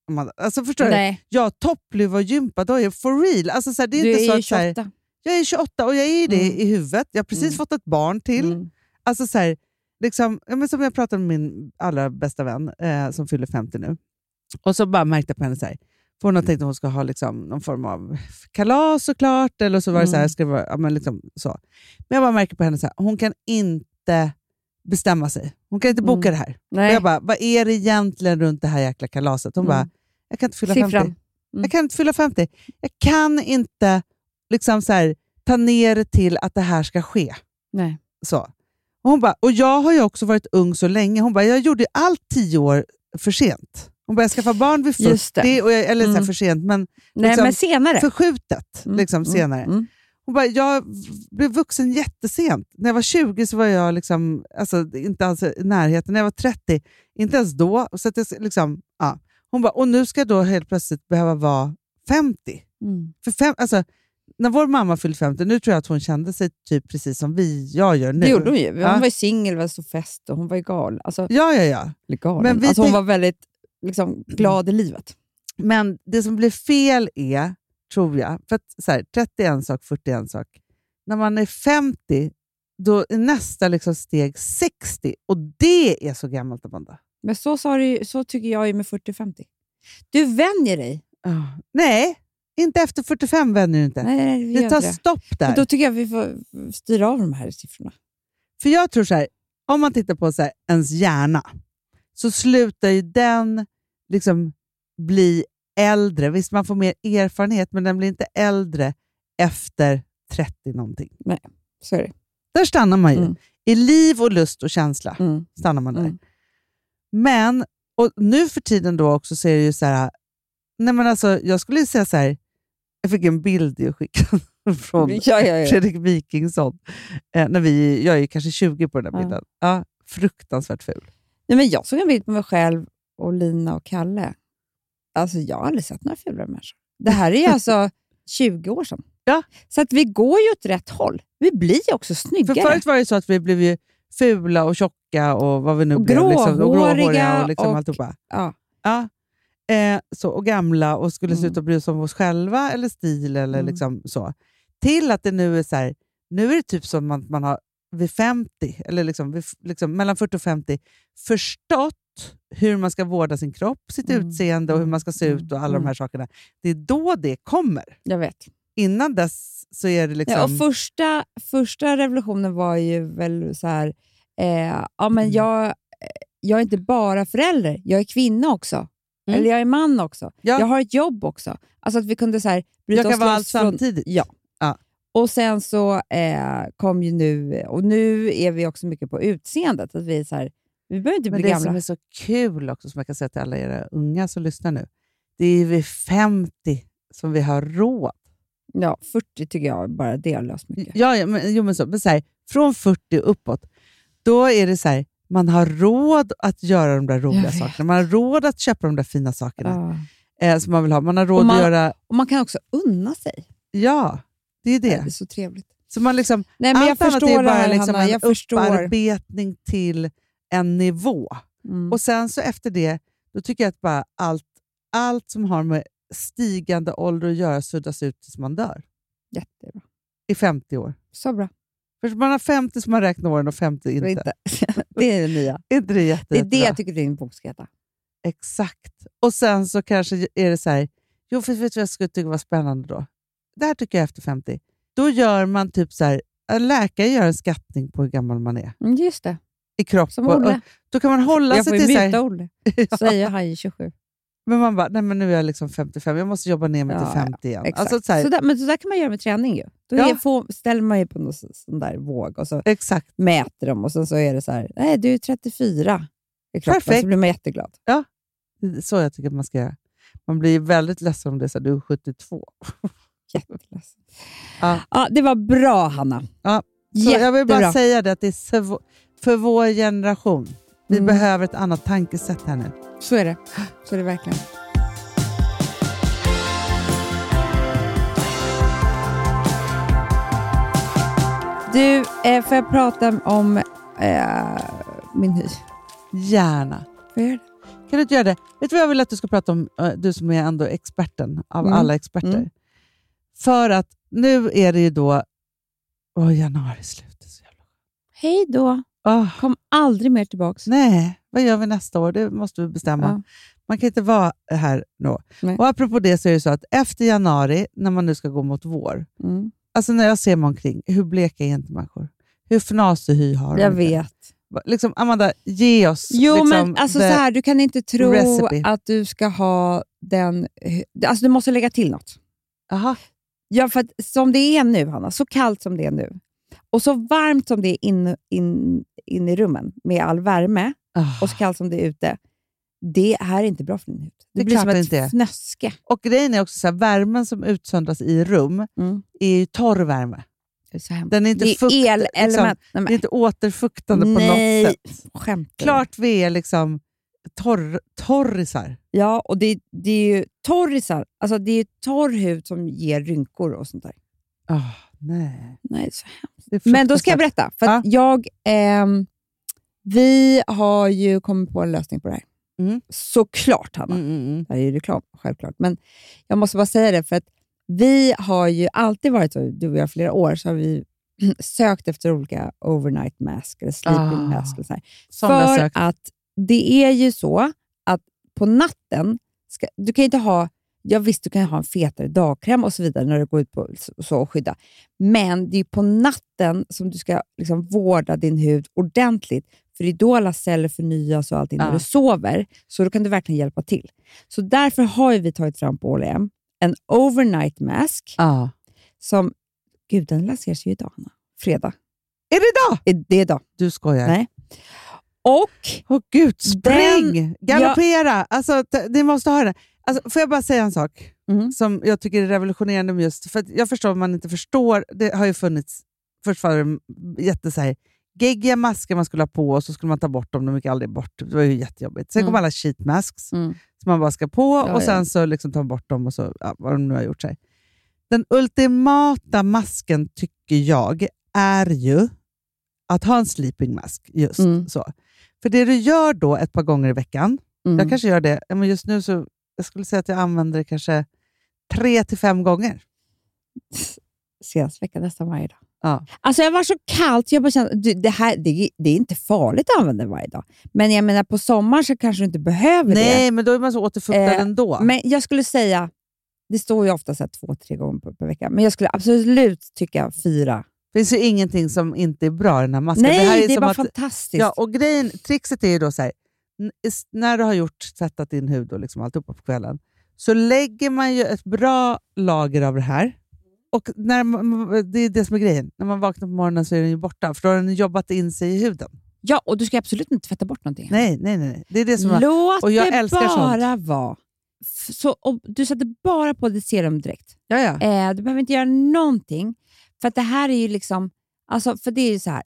Om man- Alltså förstår du? Nej, Jag har toppluva och gympadojor, for real. Alltså, så här, det är du inte så är ju att, så här, 28. jag är 28 och jag är det Mm. i huvudet. Jag har precis Mm. fått ett barn till. Mm. Alltså så här, liksom, ja, men som jag pratade med min allra bästa vän eh, som fyller 50 nu. Och så bara märkte jag på henne så här, för hon har tänkt att hon ska ha liksom, någon form av kalas såklart, eller så var det så här, Mm. ska det vara, ja, men liksom så. Men jag bara märker på henne så här, hon kan inte bestämma sig. Hon kan inte boka det här. Och Mm. Nej. jag bara, vad är det egentligen runt det här jäkla kalaset? Hon Mm. bara, jag kan inte fylla Siffran. Mm. 50. Jag kan inte fylla 50. Jag kan inte liksom så här, ta ner det till att det här ska ske. Nej. Så. Och, hon bara, och jag har ju också varit ung så länge. Hon bara, jag gjorde ju allt tio år för sent. Hon bara, jag skaffade barn vid Just det. 40, och jag, eller så här, Mm. för sent, men Nej, Liksom, men senare. förskjutet Mm, liksom, mm, senare. mm. Hon bara, jag v- blev vuxen jättesent. När jag var 20 så var jag liksom, alltså, inte alls i närheten. När jag var 30, inte ens då. Så att jag, s- liksom, ja. Hon bara, och nu ska jag då helt plötsligt behöva vara 50. Mm. För fem, alltså, när vår mamma fyllde 50, nu tror jag att hon kände sig typ precis som vi, jag gör nu. Det gjorde hon ju. Hon Ja. var ju singel, var så fest och hon var ju galen. Alltså, Ja, ja, ja. eller galen. Men vi alltså, hon tänk- var väldigt liksom, glad i livet. Men det som blir fel är, tror jag, för att så här, 30 är en sak, 40 är en sak. När man är 50, då är nästa liksom steg 60 och det är så gammalt, Amanda. Men så, sa du, ju- så tycker jag ju med 40-50. Du vänjer dig. Nej, inte efter 45 vänner du inte. Nej, nej, vi gör det tar inte det. stopp där. Men då tycker jag vi får styra av de här siffrorna. För jag tror så här, om man tittar på så här, ens hjärna så slutar ju den liksom bli äldre. Visst, man får mer erfarenhet, men den blir inte äldre efter 30 någonting. Så är det. Där stannar man ju. Mm. I liv och lust och känsla stannar man där. Mm. Men, och nu för tiden då också så är det ju så här, nej men alltså jag skulle ju säga så här, jag fick en bild jag skickade [laughs] från Ja, ja, ja. Fredrik Wikingsson. Eh, när vi, jag är ju kanske 20 på den här Ja. bilden. Ja, fruktansvärt ful. Nej, men jag såg en bild på mig själv och Lina och Kalle. Alltså, jag har aldrig sett några fulare människor. Det här är ju [laughs] alltså 20 år sedan. Ja. Så att vi går ju åt rätt håll. Vi blir ju också För snyggare. förut var det ju så att vi blev ju fula och tjocka och vad vi nu Och blev. Liksom, och gråhåriga gråhåriga och, liksom och- alltihopa. ja. Ja. Eh, så, och gamla och skulle Mm. sluta bry oss om oss själva eller stil eller Mm. liksom så. Till att det nu är så här, nu är det typ som att man har vid 50, eller liksom, vid, f- liksom mellan 40 och 50, förstått hur man ska vårda sin kropp, sitt Mm. utseende och hur man ska se ut och alla de här sakerna. Det är då det kommer. Jag vet. Innan dess så är det liksom... Ja, och första, första revolutionen var ju väl så här, Mm. eh, ja, men jag, jag är inte bara förälder, jag är kvinna också. Mm. Eller jag är man också. Ja. Jag har ett jobb också. Alltså att vi kunde så här, bryta Jag kan oss vara loss allt från... samtidigt. Ja. Ja. Och sen så eh, kom ju nu, och nu är vi också mycket på utseendet. Att vi, är så här, vi behöver inte Men bli det gamla. som är så kul också, som jag kan säga till alla era unga som lyssnar nu, det är ju vid 50 som vi har råd. Ja, 40 tycker jag bara det har löst mycket. Ja, ja men, jo, men så, men så här, från 40 uppåt, då är det så här, man har råd att göra de där Jag roliga vet. sakerna. Man har råd att köpa de där fina sakerna Ja. eh, som man vill ha. Man har råd man- att göra... Och man kan också unna sig. Ja, det är Det är det. så trevligt. Så man liksom, Nej, men jag allt annat är ju förstår det bara här, liksom Hanna. en Jag förstår. upparbetning till en nivå. Mm. Och sen så efter det, då tycker jag att bara allt, allt som har med stigande ålder att göra suddas ut tills man dör Jättebra. i 50 år. Så bra. För man har 50 som man räknar åren och 50 Det inte. är, inte. [laughs] det är det nya. Är inte det jätte, Det är det jättebra? jag tycker din bok ska heta. Exakt. Och sen så kanske är det så här, jo för vet du vad jag skulle tycka var spännande då? Det här tycker jag efter 50. Då gör man typ så här, en läkare gör en skattning på hur gammal man är Mm, Just det, i kropp. som och, Olle. och då kan man hålla jag får sig ju till så här, byta [laughs] Olle. Säger han ju 27. men man bara, nej men nu är jag liksom 55, jag måste jobba ner mig Ja, till ja. 50 igen. Exakt. Alltså, så här, så där, men så där kan man göra med träning ju. Då Ja. är, får, ställer man ju på någon sån- sån där våg och så Exakt. mäter de och sen så är det så här, nej du är 34 i kroppen. Perfekt. Så blir man jätteglad. Det är Så jag tycker att man ska göra. Man blir väldigt ledsen om det är så här, du är 72. Jätteledsen. Ja. Ja, det var bra Hanna. Ja. Så Jättebra. jag vill bara säga det att det är så vå- för vår generation. Vi Mm. behöver ett annat tankesätt här nu. Så är det. Så är det verkligen. Du, eh, får jag prata om eh, min hy? Gärna. Får jag göra det? Kan du inte göra det? Vet du vad jag vill att du ska prata om? eh, Du som är ändå experten av Mm. alla experter. Mm. För att nu är det ju då... Åh, januari är slut. Det är så jävla- Hej då. Åh, Kom aldrig mer tillbaka. nej, vad gör vi nästa år? Det måste vi bestämma. Ja. Man kan inte vara här nu. Nej. Och apropå det så är det så att efter januari, när man nu ska gå mot vår, Mm. alltså när jag ser mig omkring, hur bleka är inte människor? Hur fnasig hy har de Jag inte? vet. Va- Liksom, Amanda, ge oss Jo, liksom, men alltså så the- här, du kan inte tro recipe. att du ska ha den... hy- Alltså du måste lägga till något. Aha, Ja, för att som det är nu, Hanna, så kallt som det är nu och så varmt som det är in, in, in i rummen med all värme ah. och så kallt som det är ute, det här är inte bra för din hud. Det, Det är blir klart som det ett inte är. fnöske. Och grejen är också så här, värmen som utsöndras i rum Mm. är ju torr värme. Det är, så hemskt. Den är inte det fukt- är elelement. liksom. Nej, Det är men, inte återfuktande Nej. på något sätt. skämtar du? Klart vi är liksom torr, torrisar. Ja, och det, det är ju torrisar. Alltså, det är ju torr hud som ger rynkor och sånt där. Ah, nej. Nej, så Det är Men då ska jag fruktansvärt. berätta. För att jag, ehm, vi har ju kommit på en lösning på det här. Mm. Såklart, Hanna. Mm, mm, mm. Det här är ju reklam, självklart. Men jag måste bara säga det, för att vi har ju alltid varit, så, du och jag, i flera år, så har vi [clears throat] sökt efter olika overnight mask eller sleeping Ah, mask. Eller så här. Som jag För sökt. att det är ju så att på natten, ska, du kan ju inte ha Ja, visst, du kan ha en fetare dagkräm och så vidare när du går ut på, så och skydda. Men det är ju på natten som du ska liksom vårda din hud ordentligt. För det är då alla celler förnyas och allting när Ja. du sover. Så då kan du verkligen hjälpa till. Så därför har ju vi tagit fram på H&M en overnight mask Ah. som... Gud, den lanseras ju idag, Hanna. Fredag. Är det idag? Eh, Det är idag. Du skojar. Nej. Och... Åh gud, spring! Galoppera! Alltså, t- ni måste ha det. Alltså, får jag bara säga en sak Mhm. som jag tycker är revolutionerande med just, för att jag förstår om man inte förstår, det har ju funnits fortfarande jätte så här, geggiga masker man skulle ha på och så skulle man ta bort dem, de gick aldrig bort. Det var ju jättejobbigt. Sen kom Mm. alla sheet masks Mm. som man bara ska på Ja, och ja. sen så liksom tar man bort dem och så, ja, vad de nu har gjort sig. Den ultimata masken tycker jag är ju att ha en sleeping mask. just Mm. så. För det du gör då ett par gånger i veckan, Mm. jag kanske gör det, ja, men just nu så jag skulle säga att jag använder det kanske tre till fem gånger. Senast vecka, nästan varje dag. Ja. Alltså jag var så kallt, jag bara kände, du, det, här, det, det är inte farligt att använda varje dag. Men jag menar, på sommaren så kanske du inte behöver Nej, men då är man så återfuktad Eh, ändå. det. Men jag skulle säga, det står ju ofta så här två, tre gånger per, per vecka, men jag skulle absolut tycka fyra. Det finns ju ingenting som inte är bra i den Alltså, här masken. Nej, det, här är bara att, fantastiskt. ja, och grejen, Trixet är ju då så här, n- is- när du har gjort, tvättat din hud och liksom alltihopa på kvällen, så lägger man ju ett bra lager av det här. Och när man, det är det som är grejen. När man vaknar på morgonen så är den ju borta, för då har den jobbat in sig i huden. Ja, och du ska absolut inte tvätta bort någonting. Nej, nej, nej. nej. Det är det som är... Låt och jag det älskar sånt. bara vara. F- Så, om du sätter bara på ditt serum direkt. Ja, ja. Eh, du behöver inte göra någonting. För att det här är ju liksom... Alltså, för det är ju så här.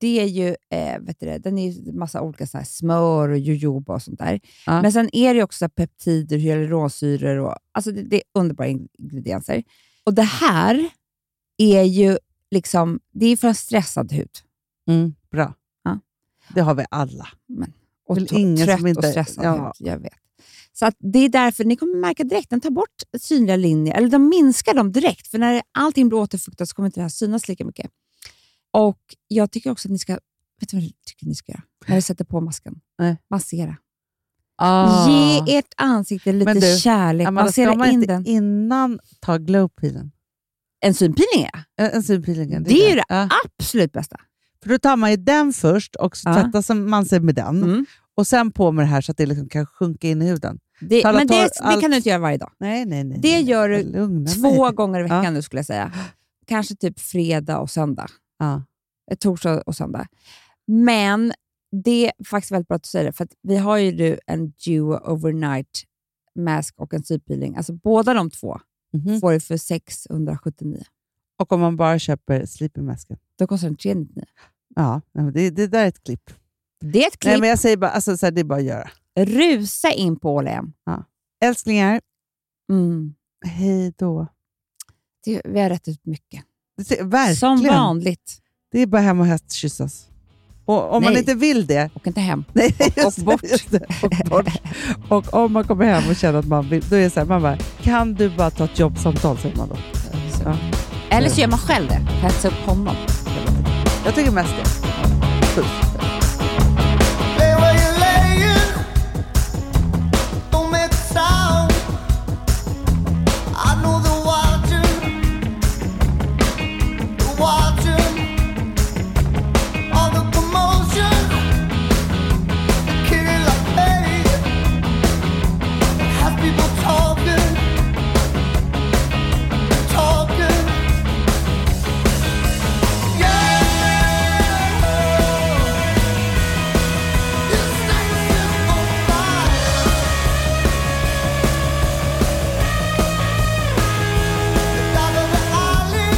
Det är ju, eh, vet du det, den är ju massa olika så här smör och jojoba och sånt där. Ja. Men sen är det ju också så här peptider, hyaluronsyror och... Alltså det, det är underbara ingredienser. Och det här är ju liksom... Det är för en stressad hud. Mm, bra. Ja. Det har vi alla. och Väl t- ingen som trött och inte- stressad ja. hud. Jag vet. Så att det är därför ni kommer märka direkt, den tar bort synliga linjer, eller de minskar dem direkt, för när allting blir återfuktat så kommer inte det här synas lika mycket. Och jag tycker också att ni ska, vet du vad jag tycker ni ska göra? När du sätter på masken? Nej. Ah. Massera. Ah. Ge ert ansikte lite Men du, kärlek. Amanda, ska Massera man in inte den. innan ta glowpeelen? En synpeeling ja. En, en synpeelingen. Det är ju det Ja. absolut bästa. För då tar man ju den först och så Ja. tvättar som- man sig med den. Mm. Och sen på med det här så att det liksom kan sjunka in i huden. Det, Tala men det, tar det allt- kan du inte göra varje dag. Nej, nej, nej. Det nej. gör du Lugna Två mig. gånger i Ja. veckan nu skulle jag säga. Kanske typ fredag och söndag. Ja. Eh, torsdag och söndag. Men det är faktiskt väldigt bra att du säger det, för att vi har ju nu en duo overnight mask och en sypeeling. Alltså båda de två Mhm. får du för 679. Och om man bara köper sleeping masken. Då kostar den 399. Ja, nej, men det, det där är ett klipp. Det är ett Nej, klipp. men jag säger bara, alltså, så här, det är bara att göra. Rusa in på Ålem. Älsklingar, Mm. hej då. Det- Vi har rätt ut mycket. Det, ser- verkligen. Som vanligt. Det är bara hem och häst kyssas. Och om man Nej. inte vill det, [laughs] Och inte hem. Nej, just och bort. Det, just det, [laughs] och bort. Och om man kommer hem och känner att man vill, då är det så här, man bara, kan du bara ta ett jobbsamtal? Säger man då. Ja. Eller så gör man själv det. Hetsa upp honom. Jag tycker mest det. Lay where you're laying. Don't make a sound. I know they're watching. They're watching. All the commotion. The kill I made. Has people talking. Talking. Yeah. This night is on fire. The light of the alley,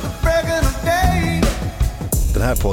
the breaking of day. Den här